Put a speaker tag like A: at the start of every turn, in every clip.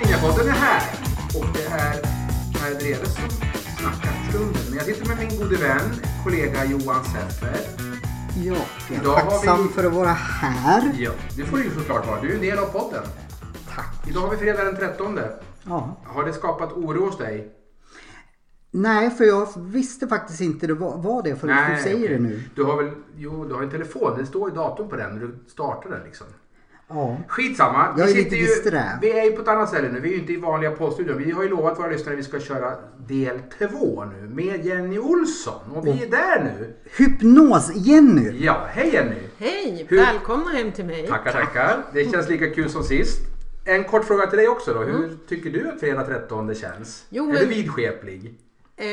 A: Ninjapodden är här och det är Per Dreves som snackar för stunden. Men jag sitter med min gode vän, kollega Johan Seffer.
B: Ja, jag
A: Idag
B: är
A: har
B: tacksam
A: vi-
B: för att vara här.
A: Ja, det får du ju såklart vara. Du är en del av podden.
B: Tack.
A: Idag har vi fredag den 13.
B: Ja.
A: Har det skapat oro hos dig?
B: Nej, för jag visste faktiskt inte det var, var det förrän du säger
A: okej.
B: det nu.
A: Du har väl, jo du har en telefon, det står ju datum på den när du startar den liksom.
B: Ja.
A: Skitsamma.
B: Jag är
A: sitter
B: lite
A: ju,
B: disträ.
A: Vi är ju på ett annat ställe nu. Vi är ju inte i vanliga poddstudion. Vi har ju lovat våra lyssnare att vi ska köra del två nu med Jenny Olsson. Och vi är där nu.
B: Hypnos-Jenny.
A: Ja, hej Jenny!
C: Hej!
A: Hur-
C: Välkomna hem till mig.
A: Tackar, tackar. Det känns lika kul som sist. En kort fråga till dig också då. Hur tycker du att fredag 13 känns?
C: Mm. Jo,
A: Är
C: men-
A: du vidskeplig?
C: Eh,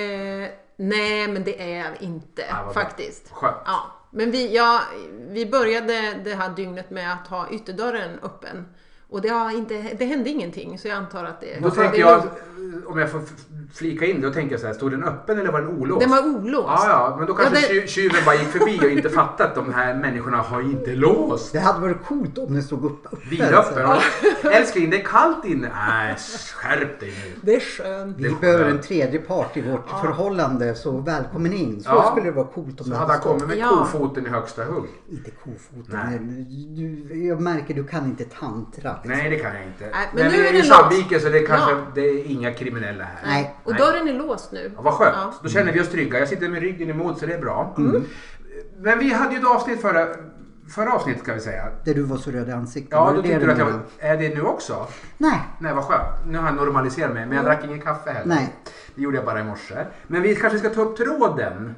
C: nej, men det är jag inte
A: Ja, Ah, vad bra.
C: faktiskt.
A: Skönt.
C: Ja, men vi, ja, vi började det här dygnet med att ha ytterdörren öppen. Och det, har inte, det hände ingenting, så jag antar att det,
A: Då
C: det
A: tänker
C: är
A: jag,
C: lugnt.
A: om jag får f- flika in, då tänker jag så här. Stod den öppen eller var den olåst?
C: Den var olåst.
A: Ja, ja, men då kanske
C: Ja, det-
A: tju- tjuven bara gick förbi och inte fattat att de här människorna har inte låst.
B: Det hade varit coolt om den stod upp, uppe.
A: Vidöppen.
B: alltså.
A: Älskling, det är kallt inne. Nej, skärp dig nu.
C: Det är skönt.
B: Vi behöver en tredje part i vårt förhållande, så välkommen in. Så
A: Ja.
B: skulle det vara coolt om
A: Så
B: den
A: hade han
B: stått-
A: kommit med
C: Ja.
A: kofoten i högsta hugg.
B: Inte kofoten.
A: Nej.
B: men Du, jag märker du kan inte tantra. liksom.
A: Nej, det kan jag inte.
C: Nej, men
A: men
C: nu
A: vi
C: är
A: är
C: det
A: i Sandviken så det är kanske
C: Ja.
A: det är inga kriminella här.
B: Nej.
C: Och dörren är låst nu.
A: Ja, vad skönt.
C: Ja.
A: Då känner vi oss trygga. Jag sitter med ryggen emot så det är bra. Men vi hade ju ett avsnitt förra, förra avsnittet kan vi säga.
B: Där du var så röd i ansiktet.
A: Ja,
B: var
A: då
B: det
A: tyckte
B: det
A: du att jag var...
B: menade?
A: Är det nu också?
B: Nej.
A: Nej, vad skönt. Nu har jag normaliserat mig, men jag drack ingen kaffe heller.
B: Nej.
A: Det gjorde jag bara i morse. Men vi kanske ska ta upp tråden.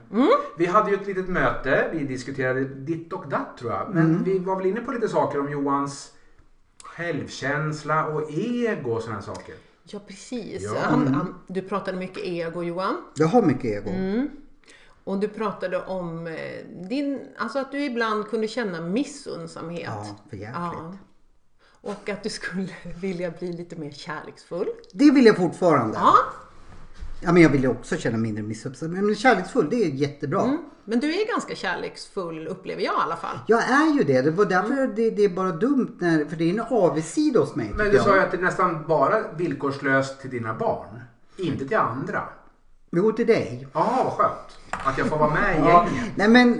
A: Vi hade ju ett litet möte. Vi diskuterade ditt och datt tror jag. Men vi var väl inne på lite saker om Johans självkänsla och ego och sådana saker.
C: Ja, precis.
A: Ja. Mm.
C: Han, han, du pratade mycket ego, Johan.
B: Jag har mycket ego.
C: Och du pratade om eh, din, alltså att du ibland kunde känna missunnsamhet.
B: Ja, för jäkligt.
C: Och att du skulle vilja bli lite mer kärleksfull.
B: Det vill jag fortfarande.
C: Ja,
B: Ja, men jag vill ju också känna mindre missuppfattning. Men kärleksfull, det är jättebra.
A: Mm.
C: men du är ganska kärleksfull upplever jag i alla fall.
B: Jag är ju det. Det var därför det, det är bara dumt när... För det är en avigsida hos mig.
A: Mm. Men
B: tycker
A: du
B: jag.
A: sa ju att det är nästan bara villkorslöst till dina barn. Inte till andra.
B: Jo, till dig.
A: Jaha, vad skönt. Att jag får vara med i
B: Ja.
A: gänget.
B: Nej, men...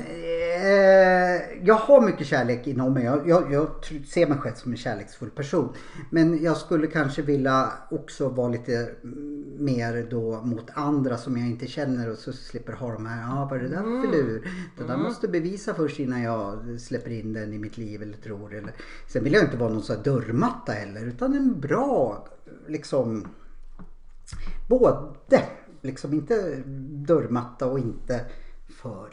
B: Eh, jag har mycket kärlek inom mig. Jag, jag, jag tr- ser mig själv som en kärleksfull person. Men jag skulle kanske vilja också vara lite mm, mer då mot andra som jag inte känner och så slipper ha de här, ja ah, vad är det där för lur? Det där måste du bevisa först innan jag släpper in den i mitt liv eller tror. Eller. Sen vill jag inte vara någon sån här dörrmatta heller utan en bra liksom både. Liksom inte dörrmatta och inte för...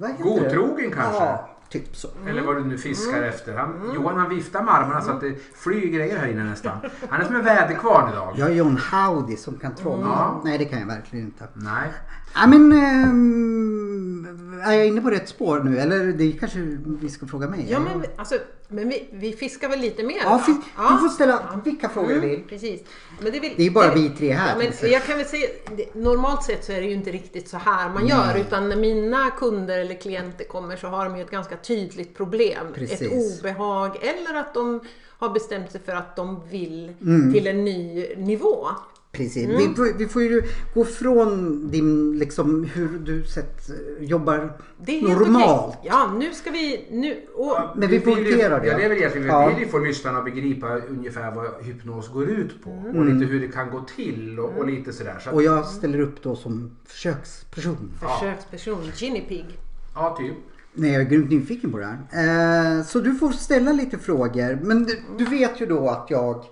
B: Vad heter det?
A: Godtrogen kanske?
B: Ja, typ så.
A: Eller vad du nu fiskar
B: Mm.
A: efter. Han, Johan han viftar med armarna så att det flyger grejer här inne nästan. Han är som en väderkvarn idag.
B: Jag är John Howdy som kan trolla.
A: Mm. Ja.
B: Nej, det kan jag verkligen inte.
A: Nej.
B: Ja, men, ehm, är jag inne på rätt spår nu? Eller det kanske vi ska fråga mig?
C: Ja,
B: eller?
C: men, vi- alltså, men vi, vi fiskar väl lite mer?
B: Mm. ja,
C: va?
B: fi- Du får ställa vilka frågor du vill.
C: Mm, precis. Men det, vill,
B: Det är bara vi tre här,
C: Ja,
B: till
C: men jag kan väl säga, det, normalt sett så är det ju inte riktigt så här man gör. Utan när mina kunder eller klienter kommer så har de ju ett ganska tydligt problem. Ett
B: Precis.
C: obehag eller att de har bestämt sig för att de vill
B: Mm.
C: till en ny nivå.
B: Precis.
C: Mm.
B: Vi, får, vi får ju gå från din, liksom, hur du sett, eh, jobbar
C: Det är helt
B: normalt.
C: okej. Ja, nu ska vi... Nu, och,
B: Men vi
A: vill ju-
B: punkterar det.
A: Ja, det är väl egentligen.
B: Ja.
A: Vi vill ju få lyssnarna att begripa ungefär vad hypnos går ut på. Och lite hur det kan gå till och, och lite sådär. Så att,
B: Mm. Och jag ställer upp då som försöksperson.
C: försöksperson, Ginny Pig.
A: ja, typ.
B: Nej, jag är grymt nyfiken på det här. Eh, så du får ställa lite frågor. Men du, du vet ju då att jag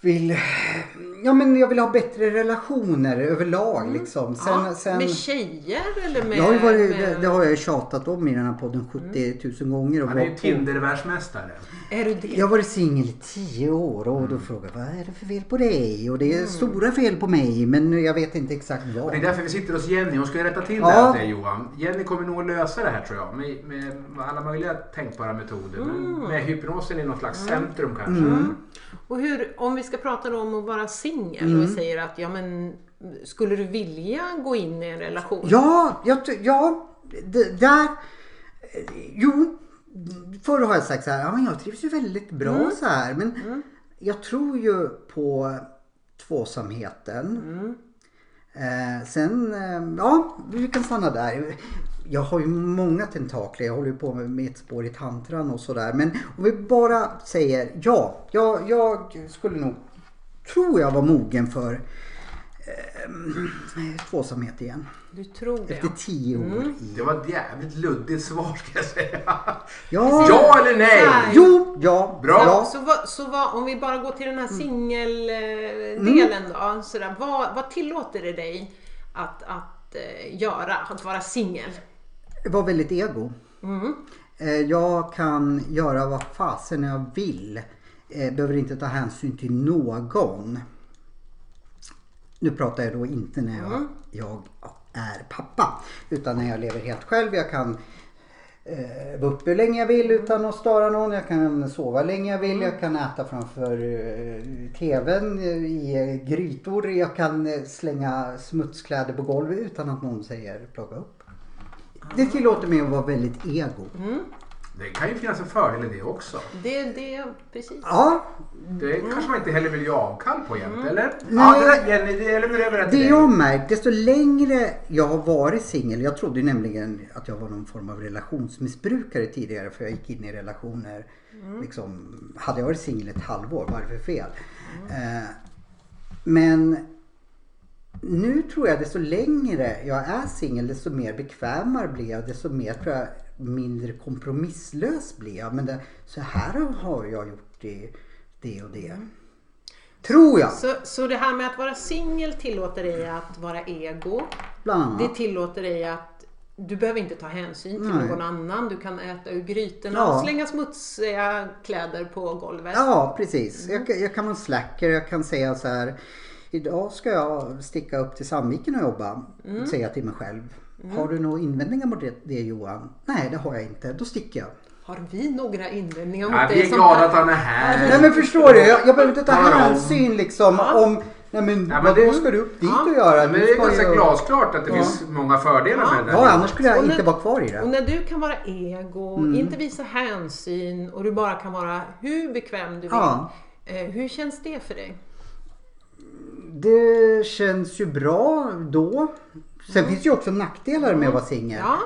B: vill... Ja men jag vill ha bättre relationer överlag liksom. Sen,
C: Mm. ja,
B: sen,
C: Med tjejer eller med...
B: jag har ju varit,
C: med... Mm.
B: det, det har jag ju tjatat om i den här podden 70 000 gånger. Och
A: Han är ju
B: var på-
A: Tinder-världsmästare.
C: Är du det?
B: Jag har varit singel i 10 år och
A: Mm.
B: då frågar jag vad är det för fel på dig? Och det
C: Mm.
B: är stora fel på mig men jag vet inte exakt vad.
A: Det är därför vi sitter hos Jenny. Hon ska ju rätta till det
B: Ja.
A: här åt dig Johan. Jenny kommer nog att lösa det här tror jag. Med, med alla möjliga tänkbara metoder. Men med hypnosen i något slags centrum kanske.
B: Mm.
C: Och hur, om vi ska prata då om att vara singel och
B: Mm.
C: vi säger att ja men skulle du vilja gå in i en relation?
B: Ja, jag, ty- ja det, där... eh, Jo, förr har jag sagt så här, ja, men jag trivs ju väldigt bra så här. Men jag tror ju på tvåsamheten. Eh, sen, eh, ja, vi kan stanna där. Jag har ju många tentakler, jag håller ju på med mitt spår i tantran och sådär. Men om vi bara säger ja, jag, jag skulle nog, tror jag var mogen för eh, tvåsamhet igen.
C: Du tror det?
B: Efter tio år i...
A: Det var ett jävligt luddigt svar ska jag säga.
B: Ja,
A: Ja eller nej?
C: Nej.
B: Jo! Ja!
A: Bra.
B: Ja. Mm.
C: Så, vad, så vad, om vi bara går till den här singeldelen då. Sådär, vad, vad tillåter det dig att, att eh, göra? Att vara singel?
B: Jag var väldigt ego.
C: Mm.
B: Eh, Jag kan göra vad fasen jag vill. Eh, Behöver inte ta hänsyn till någon. Nu pratar jag då inte när jag, jag är pappa. Utan när jag lever helt själv. Jag kan eh, vara uppe hur länge jag vill utan att störa någon. Jag kan sova hur länge jag vill. Jag kan äta framför eh, TVn eh, i eh, grytor. Jag kan eh, slänga smutskläder på golvet utan att någon säger plocka upp. Det tillåter mig att vara väldigt ego.
A: Det kan ju finnas en fördel i det också.
C: Det, det, precis.
B: Ja,
A: Det kanske man inte heller vill ge avkall på jämt, eller?
B: Nej.
A: Ja, det där Jenny, det lämnar över det till
B: det
A: dig.
B: jag har märkt, desto längre jag har varit singel. Jag trodde ju nämligen att jag var någon form av relationsmissbrukare tidigare för jag gick in i relationer. Liksom, hade jag varit singel ett halvår, vad är det för fel? Eh, men nu tror jag desto längre jag är singel desto mer bekvämare blir jag. Desto mer tror jag mindre kompromisslös blir jag. Men det, så här har jag gjort det, det och det. Tror jag.
C: Så, så det här med att vara singel tillåter dig att vara ego.
B: Bland annat.
C: Det tillåter dig att du behöver inte ta hänsyn till
B: Nej.
C: någon annan. Du kan äta ur grytorna
B: Ja.
C: och slänga smutsiga kläder på golvet.
B: Ja, precis.
A: Mm.
B: Jag, kan- jag kan vara en slacker. Jag kan säga så här. Idag ska jag sticka upp till Sandviken och jobba.
A: Mm.
B: Säger jag till mig själv. Har du några invändningar mot det, det Johan? Nej, det har jag inte. Då sticker jag.
A: Mm.
C: Har vi några invändningar mot
A: Ja,
C: dig?
A: vi är
C: som-
A: glada att han är här.
B: Nej men förstår du? Jag, jag behöver inte ta
A: Talar om.
B: hänsyn liksom om... Nej men,
A: Ja, men
B: vadå
A: det-
B: ska du upp dit
C: Ja,
B: och göra?
A: Men
B: Du
A: det är
B: ska
A: ganska
B: ju-
A: glasklart att det finns många fördelar med det där.
B: Ja, annars skulle jag
C: Och när-
B: inte vara kvar i
C: Och
A: Mm.
B: det.
C: när du kan vara ego,
B: Mm.
C: inte visa hänsyn och du bara kan vara hur bekväm du vill.
B: Ja.
C: Eh, Hur känns det för dig?
B: Det känns ju bra då. Sen
A: Mm.
B: finns det ju också nackdelar med att vara singel.
C: Ja.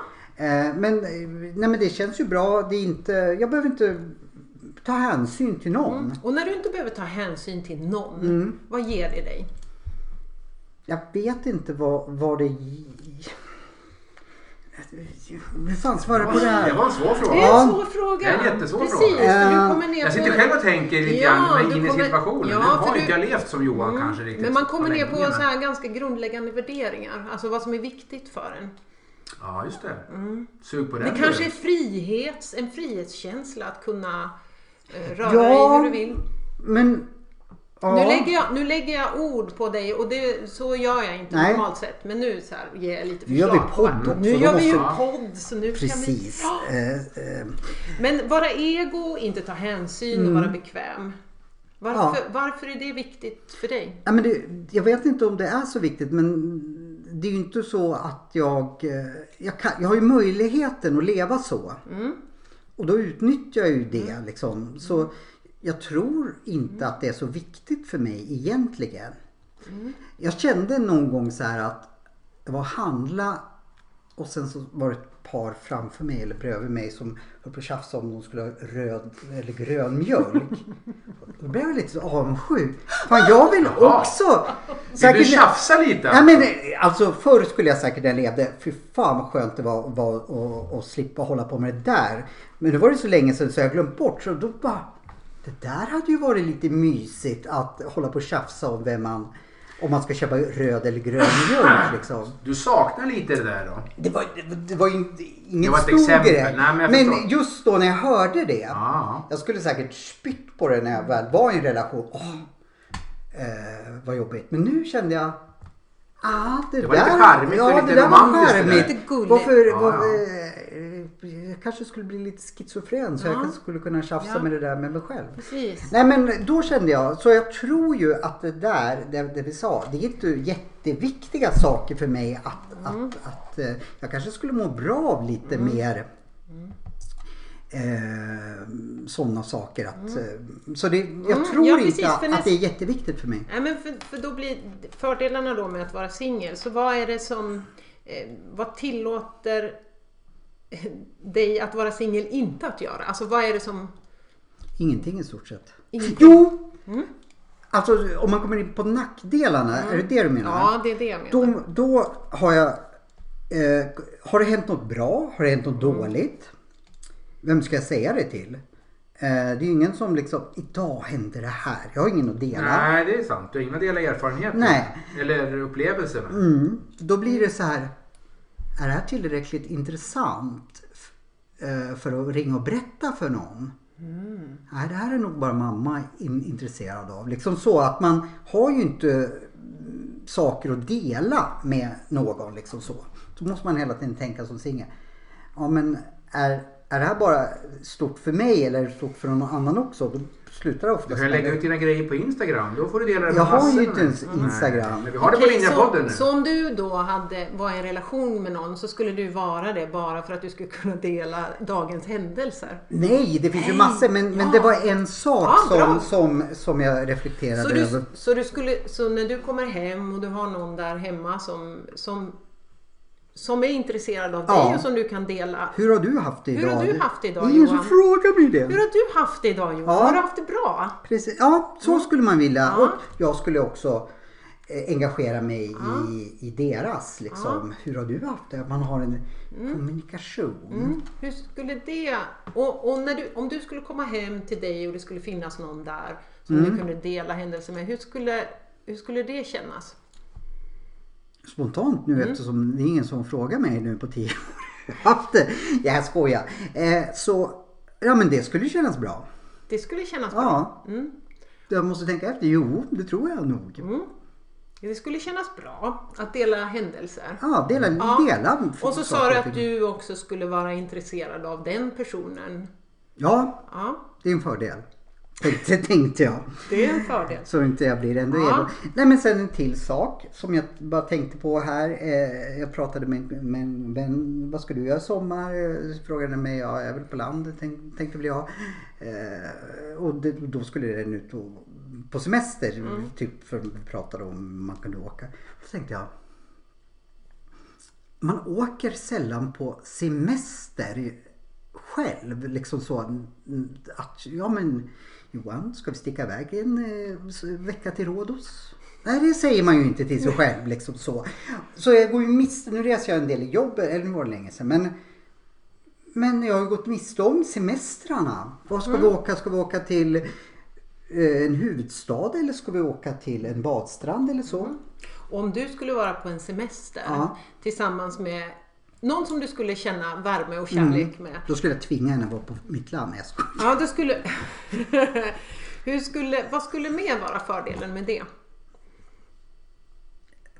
B: Eh, Men, eh, nej, men det känns ju bra. Det är inte, jag behöver inte ta hänsyn till någon.
C: Och när du inte behöver ta hänsyn till någon,
B: Mm.
C: vad ger det dig?
B: Jag vet inte vad, vad det... Hur fan svarar jag på det
A: Det
B: här?
A: var en svår fråga.
C: Det är en svår fråga.
A: Det är en jättesvår
C: Precis,
A: fråga.
C: för
B: Eh,
C: du kommer ner
A: Jag sitter
C: på-
A: själv och tänker lite
C: Ja,
A: grann
C: du
A: in i
C: kommer-
A: situationen.
C: Ja,
A: nu har
C: för
A: inte
C: du- Mm,
A: jag levt som Johan kanske riktigt.
C: Men man kommer
A: så
C: ner på
A: länge, men-
C: så här ganska grundläggande värderingar, alltså vad som är viktigt för en.
A: Ja, just det. Sug på den.
C: Mm. Det
A: du.
C: kanske är frihets, en frihetskänsla att kunna eh, röra
B: Ja.
C: dig hur du vill.
B: Men... Ja.
C: Nu, lägger jag, nu lägger jag ord på dig och det, så gör jag inte
B: Nej.
C: normalt sett. Men nu så här, ger jag lite
B: Nu gör vi
C: förslag.
B: podd
C: på-
B: också,
C: Nu
B: då
C: gör vi ju
A: måste-
C: podd. Så nu
B: Precis.
C: Kan vi...
B: Eh, eh,
C: Men vara ego, inte ta hänsyn
B: Mm.
C: och vara bekväm. Varför, varför är det viktigt för dig?
B: Ja, men det, jag vet inte om det är så viktigt men det är ju inte så att jag... eh, Jag, kan, jag har ju möjligheten att leva så. Och då utnyttjar jag ju det
A: Mm.
B: liksom. Så jag tror inte att det är så viktigt för mig egentligen.
A: Mm.
B: Jag kände någon gång så här att jag var och handla och sen så var det ett par framför mig eller bredvid mig som höll på att tjafsa om de skulle ha röd eller grön mjölk. Då blev jag lite så avundsjuk. Fan jag vill också!
A: Vill du
B: Säkert,
A: tjafsa lite?
B: nej men alltså förr skulle jag säkert när jag levde, fy fan vad skönt det var, var att- att- att slippa hålla på med det där. Men nu var det så länge sedan så jag glömt bort så då bara Det där hade ju varit lite mysigt att hålla på och tjafsa om vem man om man ska köpa röd eller grön mjölk liksom.
A: Du saknar lite det där då?
B: Det var, det, det var ju inte- inget
A: Det var ett
B: stor
A: exempel.
B: grej.
A: Nej, men jag
B: men
A: förstår.
B: just då när jag hörde det.
A: Ja.
B: Jag skulle säkert spytt på det när jag väl var i en relation. Åh, eh, vad jobbigt. Men nu kände jag. Ah, det,
A: Det var
B: där,
A: lite charmigt och
B: ja,
A: lite
B: det där
A: romantiskt det
B: Var
A: där.
B: charmigt.
C: Lite gulligt.
B: Varför,
A: Ja,
B: var,
A: ja.
B: eh, jag kanske skulle bli lite schizofren så
C: Ja.
B: jag kanske skulle kunna tjafsa
C: Ja.
B: med det där med mig själv.
C: Precis.
B: Nej men då kände jag, så jag tror ju att det där, det, det vi sa, det är inte jätteviktiga saker för mig att,
C: Mm.
B: att, att eh, jag kanske skulle må bra av lite mer
C: Mm.
B: eh, sådana saker. Att, eh, Så det, jag
C: Mm,
B: tror
C: ja,
B: inte
C: precis, för
B: att
C: näst-
B: det är jätteviktigt för mig.
C: Nej, men för, för då blir fördelarna då med att vara singel, så vad är det som, eh, vad tillåter dig att vara singel inte att göra? Alltså vad är det som,
B: Ingenting i stort sett.
C: Ingenting. Mm.
B: Jo! Alltså om man kommer in på nackdelarna, är det det du menar?
C: ja det är det jag menar.
B: Då, då har jag... Eh, har det hänt något bra? Har det hänt något dåligt? Vem ska jag säga det till? Eh, det är ju ingen som liksom, idag hände det här. Jag har ingen att dela.
A: Nej, det är sant. Du har inga delar erfarenheter.
B: Nej.
A: Eller upplevelser med.
B: Mm. Då blir det så här. Är det här tillräckligt intressant f- eh, för att ringa och berätta för någon? Nej, det här är nog bara mamma in, intresserad av. Liksom så att man har ju inte mm, saker att dela med någon. Liksom så. så måste man hela tiden tänka som singel. Ja, men är, är det här bara stort för mig eller är det stort för någon annan också? Då slutar det
A: Du
B: oftast
A: kan ju
B: med
A: lägga
B: det.
A: ut dina grejer på Instagram. Då får du dela det med
B: Jag har ju
A: massorna.
B: inte ens Instagram.
A: Nej, men vi har det på
C: Okej,
A: Linjapodden nu.
C: så, så om du då hade, var i en relation med någon så skulle du vara det bara för att du skulle kunna dela dagens händelser?
B: Nej, det finns ju massor. Men, men
C: Ja.
B: det var en sak
C: Ja,
B: som,
C: bra.
B: som, som jag reflekterade
C: Så,
B: över.
C: du, så, du skulle, så när du kommer hem och du har någon där hemma som, som, som är intresserad av dig
B: Ja.
C: och som du kan dela.
B: Hur har du haft det
C: Hur
B: idag?
C: har du haft det idag,
B: Det är ingen
C: Johan?
B: som frågar mig det.
C: Hur har du haft det idag Johan?
B: Ja.
C: Har du haft det bra?
B: Precis. Ja, så skulle man vilja.
C: Ja.
B: Och jag skulle också eh, engagera mig i, i deras. Liksom. Hur har du haft det? Att Man har en kommunikation.
C: Mm. Hur skulle det... Och, och när du, om du skulle komma hem till dig och det skulle finnas någon där som
B: Mm.
C: du kunde dela händelser med. Hur skulle, hur skulle det kännas?
B: Spontant nu
C: Mm.
B: eftersom det är ingen som frågar mig nu på tio år. haft det. Ja, jag skojar. Eh, så, ja men det skulle kännas bra.
C: Det skulle kännas bra.
B: Ja.
C: Mm.
B: Jag måste tänka efter. Jo, det tror jag nog.
C: Det skulle kännas bra att dela händelser.
B: Ja, dela.
C: Ja.
B: dela
C: Och så sa
B: saker
C: du
B: och
C: att
B: ting.
C: du också skulle vara intresserad av den personen.
B: Ja,
C: Ja,
B: det är en fördel. Tänkte, tänkte jag.
C: det är en fördel.
B: Så inte jag blir ändå
C: Ja.
B: elak. Nej men sen en till sak som jag bara tänkte på här. Eh, Jag pratade med, med en vän. Vad ska du göra i sommar? Eh, så Frågade han mig. Ja, jag är väl på land tänk, tänkte väl jag. Eh, Och det, då skulle den ut och, på semester.
C: Mm.
B: Typ för vi pratade om man kunde åka. Då tänkte jag. man åker sällan på semester själv. Liksom så mm, att, ja men Johan, ska vi sticka iväg en eh, s- vecka till Rhodos? Nej, det säger man ju inte till sig själv liksom så. Så jag går ju miste, nu reser jag en del i jobb, eller nu var det länge sedan, men men jag har ju gått miste om semestrarna. Vad ska vi åka? Ska vi åka till eh, en huvudstad eller ska vi åka till en badstrand eller så?
C: Om du skulle vara på en semester
B: Ja.
C: tillsammans med någon som du skulle känna värme och kärlek med.
B: Då skulle jag tvinga henne att vara på mitt land. Jag skojar.
C: Ja, det skulle... Hur skulle... Vad skulle mer vara fördelen med det?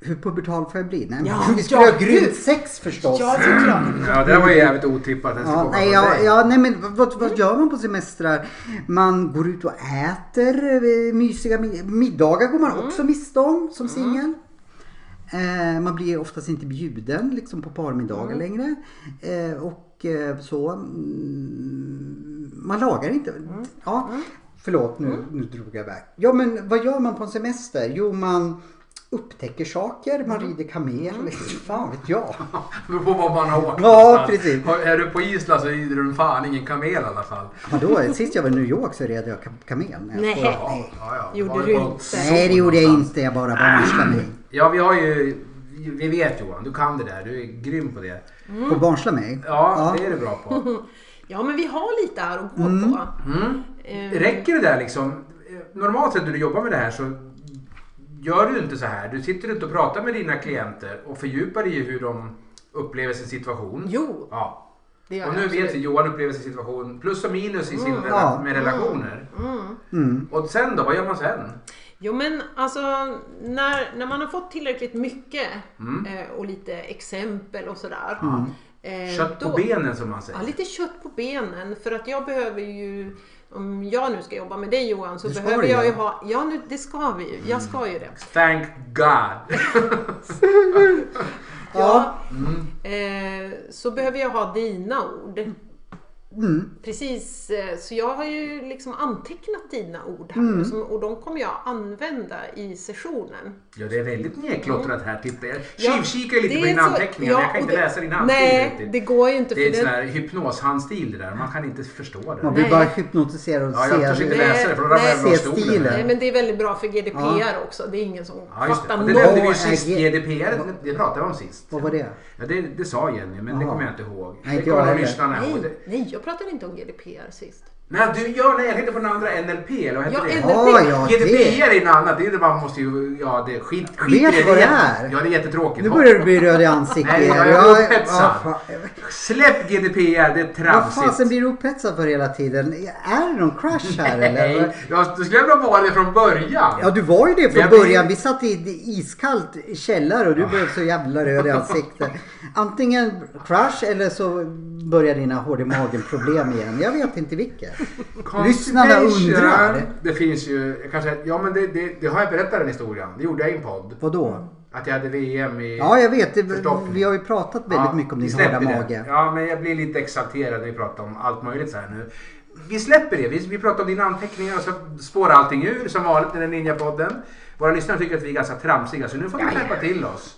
B: Hur pubertal får jag bli? Nej,
C: Ja,
B: men vi skulle
C: ja,
B: ha grymt
C: gud.
B: sex förstås.
C: såklart.
A: Ja, det där var ju jävligt otippat. att det skulle
B: Ja,
A: komma från
B: nej, ja,
A: dig.
B: ja, nej men vad- vad, vad gör man på semestrar? Man går ut och äter eh, mysiga mi- middagar går man också miste om som singel. Eh, man blir oftast inte bjuden liksom på parmiddagar längre. Eh, och eh, så. mm, Man lagar inte. Ja, förlåt nu, nu drog jag iväg. Ja men vad gör man på en semester? Jo man upptäcker saker, man rider kamel. Fan vet jag.
A: Det beror på var man har åkt
B: Ja,
A: någonstans.
B: precis.
A: Har- Är du på Island så rider du en fan ingen kamel i alla fall.
B: Vadå? Sist jag var i New York så red jag kam- kamel. när jag
C: Nej.
B: var-
A: Ja, ja, ja.
C: Gjorde
A: Var
C: du
A: på-
C: inte.
B: Nej det gjorde jag inte, jag bara barnslade mig.
A: Ja, vi har ju... Vi vet Johan, du kan det där. Du är grym på det.
C: Mm.
B: Och barnsla mig?
A: Ja, det är du bra på. Mm.
C: Ja, men vi har lite här att gå på. Eh,
A: Räcker det där liksom? Normalt sett när du jobbar med det här så gör du inte så här. Du sitter inte och pratar med dina klienter och fördjupar dig i hur de upplever sin situation.
C: Jo,
A: Ja.
C: det gör
A: Och nu
C: jag
A: vet vi
C: absolut.
A: Johan upplever sin situation plus och minus i sin
C: Mm.
A: rela-
B: Ja.
A: med relationer.
C: Mm.
B: Mm.
A: Och sen då, vad gör man sen?
C: Jo men alltså när, när man har fått tillräckligt mycket
A: Mm.
C: eh, och lite exempel och sådär. eh,
A: Kött på
C: då-
A: benen som man
C: Ja,
A: säger.
C: lite kött på benen. För att jag behöver ju, om jag nu ska jobba med dig Johan, så
B: Det ska
C: behöver
B: du
C: jag ju
B: göra.
C: ha, ja nu, det ska vi ju,
A: Mm.
C: jag ska ju det.
A: Thank God!
B: Ja.
A: Mm.
C: Eh, så behöver jag ha dina ord.
B: Mm.
C: Precis, eh, så jag har ju liksom antecknat dina ord här
A: Mm.
C: nu, som, och de kommer jag använda i sessionen.
A: Ja, det är väldigt nedklottrat här. Titta, jag
C: Ja,
A: tjuvkikar lite
C: det
A: på
C: är
A: dina
C: så-
A: anteckningar men jag kan
C: och
A: inte
C: det-
A: läsa dina handstil
C: Nej,
A: riktigt.
C: det går ju inte.
A: Det är
C: för
A: en sån
C: den-
A: här hypnoshandstil det där. Man kan inte förstå det.
B: Man blir
C: Nej.
B: bara hypnotiserad och
A: Ja, jag törs inte
B: ser.
A: läsa det för då ramlar
C: Nej.
A: jag från
B: Se
A: stolen.
B: stilen.
A: här.
C: Nej, men det är väldigt bra för GDPR också. Det är ingen som
A: Ja, just det.
C: fattar
A: Och det
B: noll.
A: nämnde vi ju
B: Åh,
A: sist.
B: jag-
A: GDPR, det pratade vi om sist.
B: Vad var det?
A: Ja, det, det sa Jenny, men det
B: Jaha.
A: kommer jag inte ihåg.
B: Nej,
A: det
B: inte jag
A: kommer
B: heller.
A: lyssnarna ihåg.
C: Nej,
A: Det-
C: nej, jag pratade inte om GDPR sist.
A: Nej, du gör nej, jag tänkte på den andra NLP, eller vad
C: Ja,
A: heter det?
C: N-
B: Ja, ja, det.
A: GDPR är något annat. Det är det man måste ju... Ja, det är skit, skit
B: Vet
A: i
B: vad det
A: igen.
B: är?
A: Ja, det är jättetråkigt.
B: Nu börjar du bli röd i ansiktet.
A: Nej, jag är
B: Ja,
A: upphetsad.
B: ja, fan.
A: Släpp GDPR, det är
B: Vad fasen
A: tramsigt.
B: blir du upphetsad för hela tiden? Är det någon crush här eller?
A: Nej, jag du skulle väl vara det från början.
B: Ja du var ju det
A: Jag
B: från
A: blir-
B: början. Vi satt i ett iskallt källare och du blev så jävla röd i ansiktet. Antingen crush eller så börjar dina hård i magen problem igen. Jag vet inte vilket. Lyssnarna
A: Constipation.
B: undrar.
A: Det finns ju kanske, ja men det, det, det har jag berättat den historien. Det gjorde jag i en podd.
B: Vadå?
A: Att jag hade VM i...
B: Ja jag vet. Det,
A: Förstoppning.
B: vi har ju pratat väldigt
A: Ja,
B: mycket om
A: vi
B: din
A: släpper
B: hårda
A: det.
B: mage.
A: Ja, men jag blir lite exalterad när vi pratar om allt möjligt så här nu. Vi släpper det. Vi, vi pratar om dina anteckningar och så spårar allting ur som vanligt i den ninja-podden. Våra lyssnare tycker att vi är ganska tramsiga så nu får du skärpa till oss.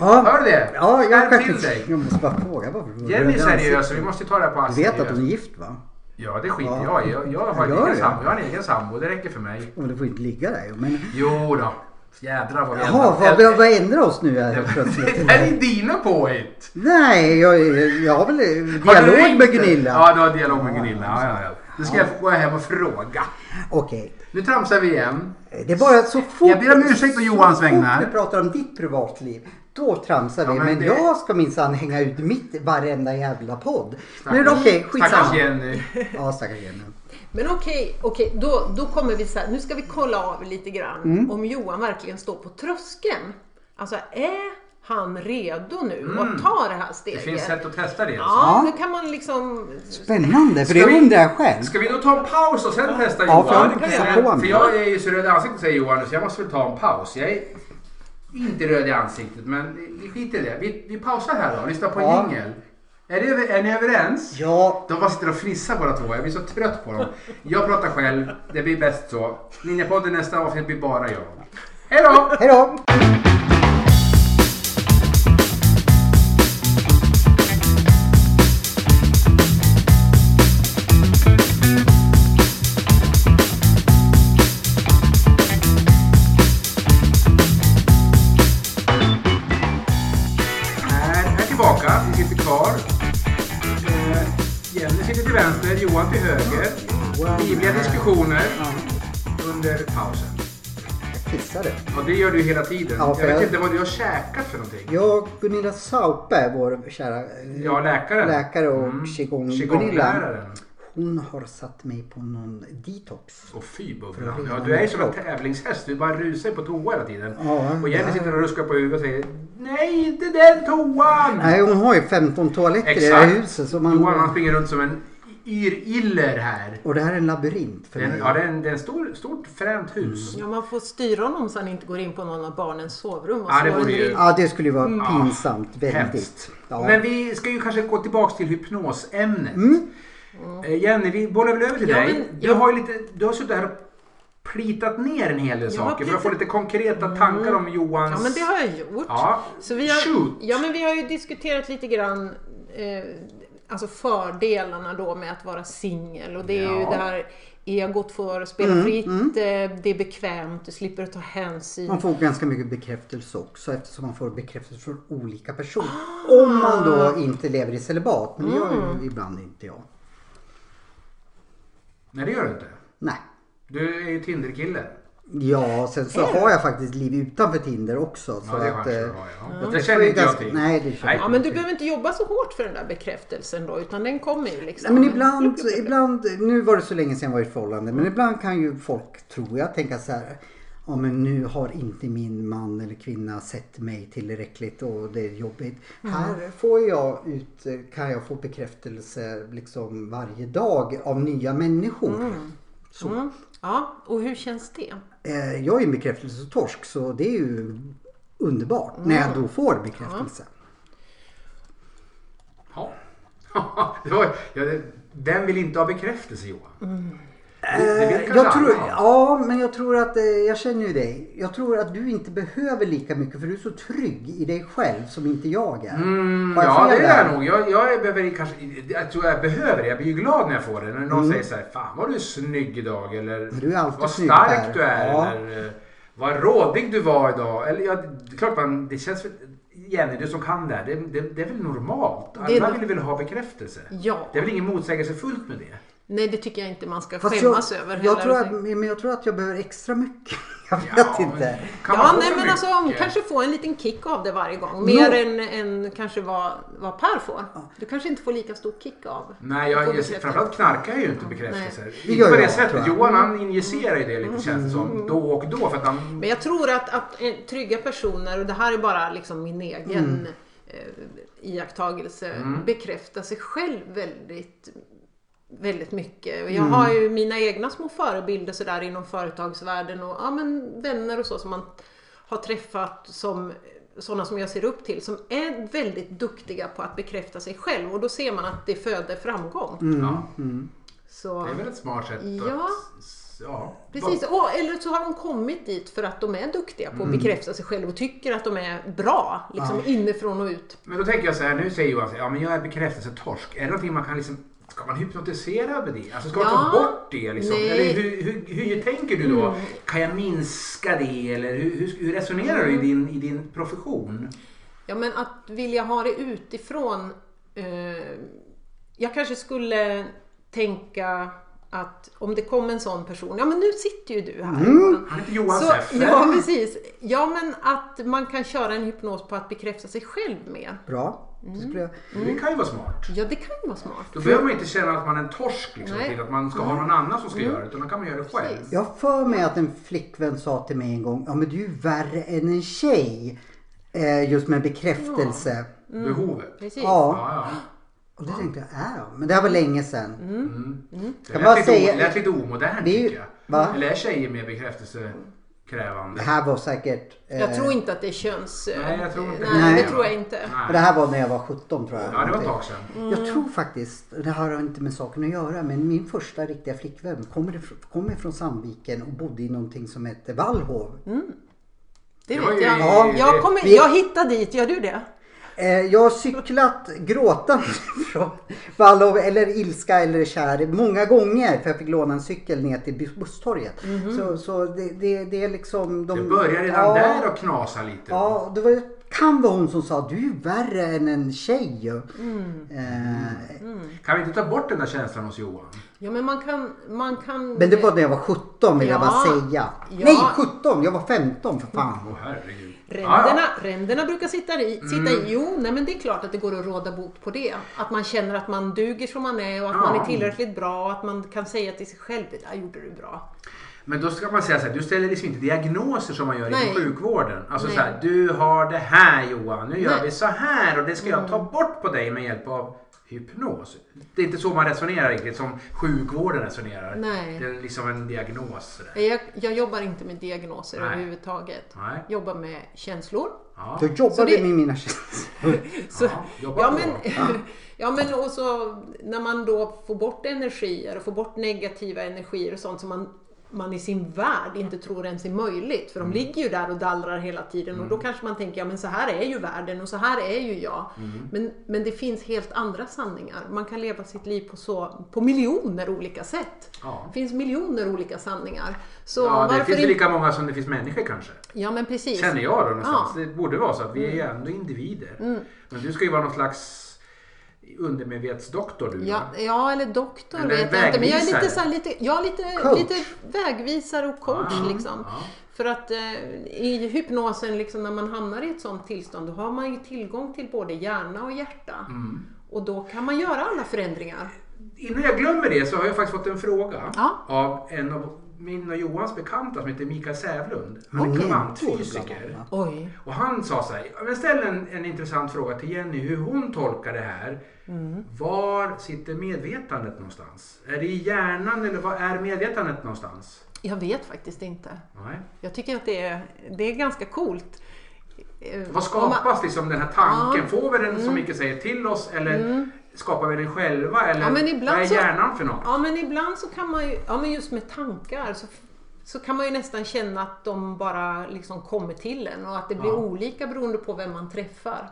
B: Ja,
A: Hör du det?
B: ja jag,
A: Skärp
B: kan
A: till dig.
B: jag måste bara fråga varför du var
A: Jenny är
B: röd i
A: seriös så
B: ansiktet.
A: vi måste ju ta det här på
B: Du
A: allvar.
B: vet att hon är gift va?
A: Ja, det skiter
B: Ja.
A: jag i. Jag, jag, har en
B: Gör
A: egen
B: det.
A: sambo. jag har en egen sambo. Det räcker för mig.
B: Ja, Men du får inte ligga där ju. Men...
A: Jo då. Jädrar vad vi
B: Jaha, vad, vad, vad ändrar oss nu här plötsligt?
A: Det här är dina påhitt!
B: Nej, jag, jag har väl
A: Har du
B: dialog
A: ringt
B: med
A: den?
B: Gunilla.
A: Ja, du har dialog med Gunilla. Ja, ja, ja. Nu ska jag gå hem och fråga.
B: Okej.
A: Nu tramsar vi igen.
B: Det är bara så fort...
A: Jag ber om ursäkt å Johans vägnar.
B: Så fort vi pratar om ditt privatliv, då tramsar vi.
A: Ja, men
B: men
A: det-
B: jag ska minsann hänga ut mitt i varenda jävla podd. Men
A: Stackars-
B: okej,
A: Stackars
B: skitsamma.
A: Jenny.
B: Ja, stackars Jenny.
C: Men okej, okej då, då kommer vi så här, nu ska vi kolla av lite grann
A: Mm.
C: om Johan verkligen står på tröskeln. Alltså är han redo nu att ta det här
A: Mm. Det
C: steget?
A: finns sätt att testa det. alltså.
C: Ja,
B: Ja.
C: nu kan man liksom...
B: Spännande, för det
A: Ska vi-
B: undrar jag själv.
A: Ska vi då ta en paus och sen testa
B: Ja,
A: Johan?
B: för jag har
A: det
B: inte
A: kan vi
B: sett
A: göra.
B: på
A: för
B: mig.
A: jag är ju så röd i ansiktet säger Johan så jag måste väl ta en paus. Jag är inte röd i ansiktet men vi- vi skiter i det. Vi, vi pausar här då. Lyssna på
B: Ja.
A: en jingel. Är, det över- är ni överens?
B: Ja,
A: De bara sitter och fnissar båda två. Jag blir så trött på dem. Jag pratar själv. Det blir bäst så. Ninjapodden nästa avsnitt blir bara jag. Hej då!
B: hejdå!
A: Här, här tillbaka. Vi sitter kvar. Eh, Jenny sitter till vänster, Johan till höger. Livliga diskussioner under pausen.
B: Jag kissade.
A: Ja, det gör du hela tiden.
B: Ja, för
A: jag vet
B: jag-
A: inte vad du har käkat för någonting.
B: Jag och Gunilla Saupe, vår kära eh,
A: Ja, Mm. läkaren.
B: läkare och qigong Gunilla.
A: Qigong-läraren.
B: Hon har satt mig på någon detox.
A: Åh fy bubblan.
B: För att
A: Ja,
B: vinna
A: du är ju
B: min
A: som en
B: kropp.
A: tävlingshäst. Du bara rusar på toa hela tiden.
B: Ja,
A: och Jenny
B: ja.
A: sitter och ruskar på huvudet och säger Nej, inte den toan!
B: Nej, hon har ju 15 toaletter i det här
A: Exakt.
B: huset. Så
A: Johan han
B: man...
A: springer runt som en yr-iller här.
B: Och det här är en labyrint för
A: Det är en-
B: mig.
A: ja, det är en, det är en stor, stort fränt hus.
C: Ja, man får styra honom så han inte går in på någon av barnens sovrum och
A: Ja, det
C: slår
A: vore
C: en
A: ju-
C: ring.
B: Ja, det skulle ju vara pinsamt.
A: Mm. Hemskt.
B: Väldigt. Ja.
A: Men vi ska ju kanske gå tillbaks till hypnosämnet.
B: Mm.
A: Eh, Jenny, vi bollar väl över till
C: Ja,
A: dig.
C: men
A: du,
C: jag-
A: har ju lite, du har suttit här och plitat ner en hel del
C: Jag har
A: saker för att få
C: plitat- Mm.
A: lite konkreta tankar om Johans...
C: Ja, men det har jag gjort.
A: Ja,
C: Så vi har,
A: Shoot!
C: ja, men vi har ju diskuterat lite grann eh, alltså fördelarna då med att vara singel och det är ju
A: Ja.
C: det här egot får spela
B: Mm,
C: fritt, eh, det är bekvämt, du slipper att ta hänsyn.
B: Man får ganska mycket bekräftelse också eftersom man får bekräftelse från olika personer. Om man då inte lever
A: Mm.
B: i celibat. Men det gör ju ibland inte jag.
A: Nej, det gör du inte.
B: Nej.
A: Du är ju Tinderkille.
B: Ja, sen så har jag faktiskt liv utanför Tinder också. Så
A: Ja, det
B: att,
A: kanske
B: eh,
A: du har, ja.
B: jag
A: Det
B: träffar
A: känner
B: ju
A: inte jag
B: ganska-
A: till.
B: Nej, det känner
A: Nej.
B: jag
C: Ja, men du behöver inte jobba så hårt för den där bekräftelsen då, utan den kommer ju
B: Nej,
C: liksom.
B: men ibland, ibland, nu var det så länge sedan jag var i ett förhållande, men ibland kan ju folk, tror jag, tänka så här. Ja men nu har inte min man eller kvinna sett mig tillräckligt och det är jobbigt. Här får jag ut, kan jag få bekräftelse liksom varje dag av nya människor. Så.
C: Mm. Ja, och hur känns det?
B: Eh, Jag är en bekräftelsetorsk så det är ju underbart när jag då får bekräftelse.
A: Ja. det var, ja, det, vem vill inte ha bekräftelse Johan?
C: Mm.
A: Det, det vill kanske
B: Eh, Jag tror,
A: alla.
B: ja, men jag tror att, eh, jag känner ju dig. Jag tror att du inte behöver lika mycket för du är så trygg i dig själv som inte jag är.
A: Mm,
B: Har jag
A: ja,
B: fel
A: det är
B: där?
A: jag nog. Jag, jag, behöver, kanske, jag tror jag behöver det. Jag blir ju glad när jag får det. När någon säger så här, fan vad du är snygg idag. Eller
B: Mm. Du är alltid
A: vad
B: snygg
A: stark
B: Per."
A: du är.
B: Ja.
A: Eller eh, vad rådig du var idag. Eller, ja, det är klart man, det känns väl, Jenny, du som kan det här. Det, det, det är väl normalt?
C: Det är
A: Alla
C: no-
A: vill väl ha bekräftelse?
C: Ja,
A: Det är väl ingen motsägelsefullt med det?
C: nej det tycker jag inte man ska
B: Fast
C: skämmas
B: jag,
C: över.
B: jag
C: heller. Alltså,
B: tror att, men jag tror att jag behöver extra mycket. Jag vet inte.
A: kan man
C: Ja,
A: få
C: nej
A: för
C: men alltså hon
A: mycket?
C: kanske får en liten kick av det varje gång.
B: Jo.
C: Mer än, än kanske vad, vad Per får. Du kanske inte får lika stor kick av.
A: Nej,
C: Får
A: jag, jag,
C: bekräftelse.
A: framförallt knarkar jag ju inte bekräftelser.
B: Det
A: Inte
B: gör
A: på det
B: jag, tror
A: sättet.
B: jag.
A: Johan han injicerar ju det lite känns det
C: Mm.
A: som. Då och då. För att han,
C: Men jag tror att, att eh, trygga personer, och det här är bara liksom min egen
A: Mm.
C: eh, iakttagelse, bekräftar sig själv väldigt, väldigt mycket. Och jag
A: Mm.
C: har ju mina egna små förebilder sådär inom företagsvärlden och ja, men vänner och så som man har träffat som sådana som jag ser upp till som är väldigt duktiga på att bekräfta sig själv och då ser man att det föder framgång.
B: Mm.
A: ja,
C: Så...
A: Mm. det är väl ett smart sätt
C: Ja.
A: att... s- Ja.
C: Precis, och, eller så har de kommit dit för att de är duktiga på att
A: Mm.
C: bekräfta sig själva och tycker att de är bra, liksom inifrån och ut.
A: Men då tänker jag så här, nu säger Johan så här, ja men jag är bekräftelsetorsk. Är det någonting man kan liksom... Ska man hypnotisera över det? Alltså ska man ta
C: Ja.
A: bort det liksom?
C: Nej. Mm.
A: Eller hur, hur, hur tänker du då? Kan jag minska det? Eller hur, hur, hur resonerar du i
C: Mm.
A: din, i din profession?
C: Ja, men att vilja ha det utifrån. Eh, jag kanske skulle tänka att om det kom en sån person, ja men nu sitter ju du här. Johan.
A: Han heter Johan
C: Så,
A: Seffer.
C: ja, precis. Ja, men att man kan köra en hypnos på att bekräfta sig själv mer.
B: Bra.
C: Mm.
B: Det skulle jag...
A: Det kan ju vara smart.
C: Ja, det kan ju vara smart.
A: Då behöver man inte känna att man är en torsk liksom,
C: Mm. Nej. Mm.
A: till att man ska ha någon annan som ska göra det. Utan då kan man göra det själv.
C: Precis.
B: Jag har för mig att en flickvän sa till mig en gång, ja men du är värre än en tjej. Eh, just med bekräftelse.
A: Behovet.
C: Mm. Precis.
B: Ja.
A: Ja, ja.
B: Och det tänkte jag, ja, men det här var länge sedan.
C: Mm.
A: Det
B: Jag bara
A: lät, lite,
B: säger-
A: o- lät lite omodernt
B: Det är ju-
A: tycker jag.
B: Va?
A: Eller är tjejer mer
B: Det
A: bekräftelsekrävande?
B: här var säkert... eh,
C: Jag tror inte att det är köns...
A: Nej, jag tror inte
C: Nej,
B: det.
C: det tror jag inte.
B: Men Det
A: Nej.
B: här var när jag var 17 tror jag.
A: Ja, det var ett tag sedan.
B: Jag tror faktiskt, det här har inte med saken att göra, men min första riktiga flickvän kommer ifrån, kom ifrån Sandviken och bodde i någonting som hette Vallhov.
C: Det
A: Det
C: vet
A: var ju-
C: jag.
A: Ja,
C: jag,
A: det-
C: kommer,
B: vi-
C: jag hittade dit, gör du det?
B: Eh, jag har cyklat gråtande från Vallhov eller Ilska eller Kär många gånger för jag fick låna en cykel ner till bus- busstorget. Så, så det, det, det är liksom... De,
A: Det börjar redan
B: ja,
A: där att knasa lite.
B: Ja, och det var, kan vara hon som sa du är värre än en tjej. Eh,
A: Kan vi inte ta bort den där känslan hos Johan?
C: Ja, men man kan... Man kan
B: Men det var när jag var 17 vill jag
C: Ja.
B: bara säga.
C: Ja.
B: Nej 17, jag var 15 för fan.
A: Åh herregud.
C: Ränderna,
A: Ja, Mm.
C: ränderna brukar sitta i. Sitta i. Jo, nej, men det är klart att det går att råda bot på det. Att man känner att man duger som man är och att
A: Ja.
C: man är tillräckligt bra och att man kan säga till sig själv det där gjorde du bra.
A: ja. Men då ska man säga så här, du ställer liksom inte diagnoser som man gör
C: Nej.
A: inom sjukvården. Alltså
C: Nej.
A: så här, du har det här Johan, nu gör
C: Nej. Mm.
A: vi så här och det ska jag ta bort på dig med hjälp av hypnos. Det är inte så man resonerar riktigt, som sjukvården resonerar.
C: Nej.
A: Det är liksom en diagnos. sådär.
C: Nej, Jag, jag jobbar inte med diagnoser
A: Nej.
C: överhuvudtaget.
A: Nej.
C: Jobbar med känslor.
A: Ja.
B: Då jobbade
C: det-
B: med mina känslor.
C: Så,
A: Ja,
C: ja,
A: jobba på.
C: men, ja men och så när man då får bort energier och får bort negativa energier och sånt som man, man i sin värld inte tror ens är möjligt. För de
A: Mm.
C: ligger ju där och dallrar hela tiden och då kanske man tänker ja men så här är ju världen och så här är ju jag.
A: Mm.
C: Men, men det finns helt andra sanningar. Man kan leva sitt liv på, så, på miljoner olika sätt.
A: Ja.
C: Det finns miljoner olika sanningar. Så
A: Ja, det
C: varför
A: finns ju
C: inte-
A: lika många som det finns människor kanske.
C: Ja men precis.
A: Känner jag då någonstans.
C: Ja. Mm.
A: Det borde vara så att vi är ju ändå individer. Men du ska ju vara någon slags undermedvetsdoktor du
C: Ja,
A: va?
C: ja eller doktor
A: Eller
C: vet jag inte. Men jag är lite,
A: vägvisare.
C: så här, lite, jag är lite,
B: Coach.
C: lite vägvisare och coach.
A: Ah,
C: liksom.
A: ja.
C: För att eh, i hypnosen, liksom, när man hamnar i ett sånt tillstånd, då har man ju tillgång till både hjärna och hjärta.
A: Mm.
C: Och då kan man göra alla förändringar.
A: Innan jag glömmer det så har jag faktiskt fått en fråga
C: Ja.
A: av en av min och Johans bekanta som heter Mikael Sävlund. Han
B: är
A: är
B: en tolk,
A: kvantfysiker.
B: va?
C: Oj.
A: Och han sa så här, "Ja, men ställ en, en intressant fråga till Jenny hur hon tolkar det här.
C: Mm.
A: Var sitter medvetandet någonstans? Är det i hjärnan eller var är medvetandet någonstans?
C: Jag vet faktiskt inte.
A: Nej.
C: Jag tycker att det är, det är ganska coolt. Eh,
A: Vad
C: om man- Mm.
A: skapas liksom den här tanken? Får vi den som mycket säger till oss eller skapar vi den själva? Eller
C: Ja, men ibland
A: vad är
C: så-
A: hjärnan för något?
C: Ja men ibland så kan man ju, ja men just med tankar så, så kan man ju nästan känna att de bara liksom kommer till en och att det blir
A: Ja. Mm.
C: olika beroende på vem man träffar.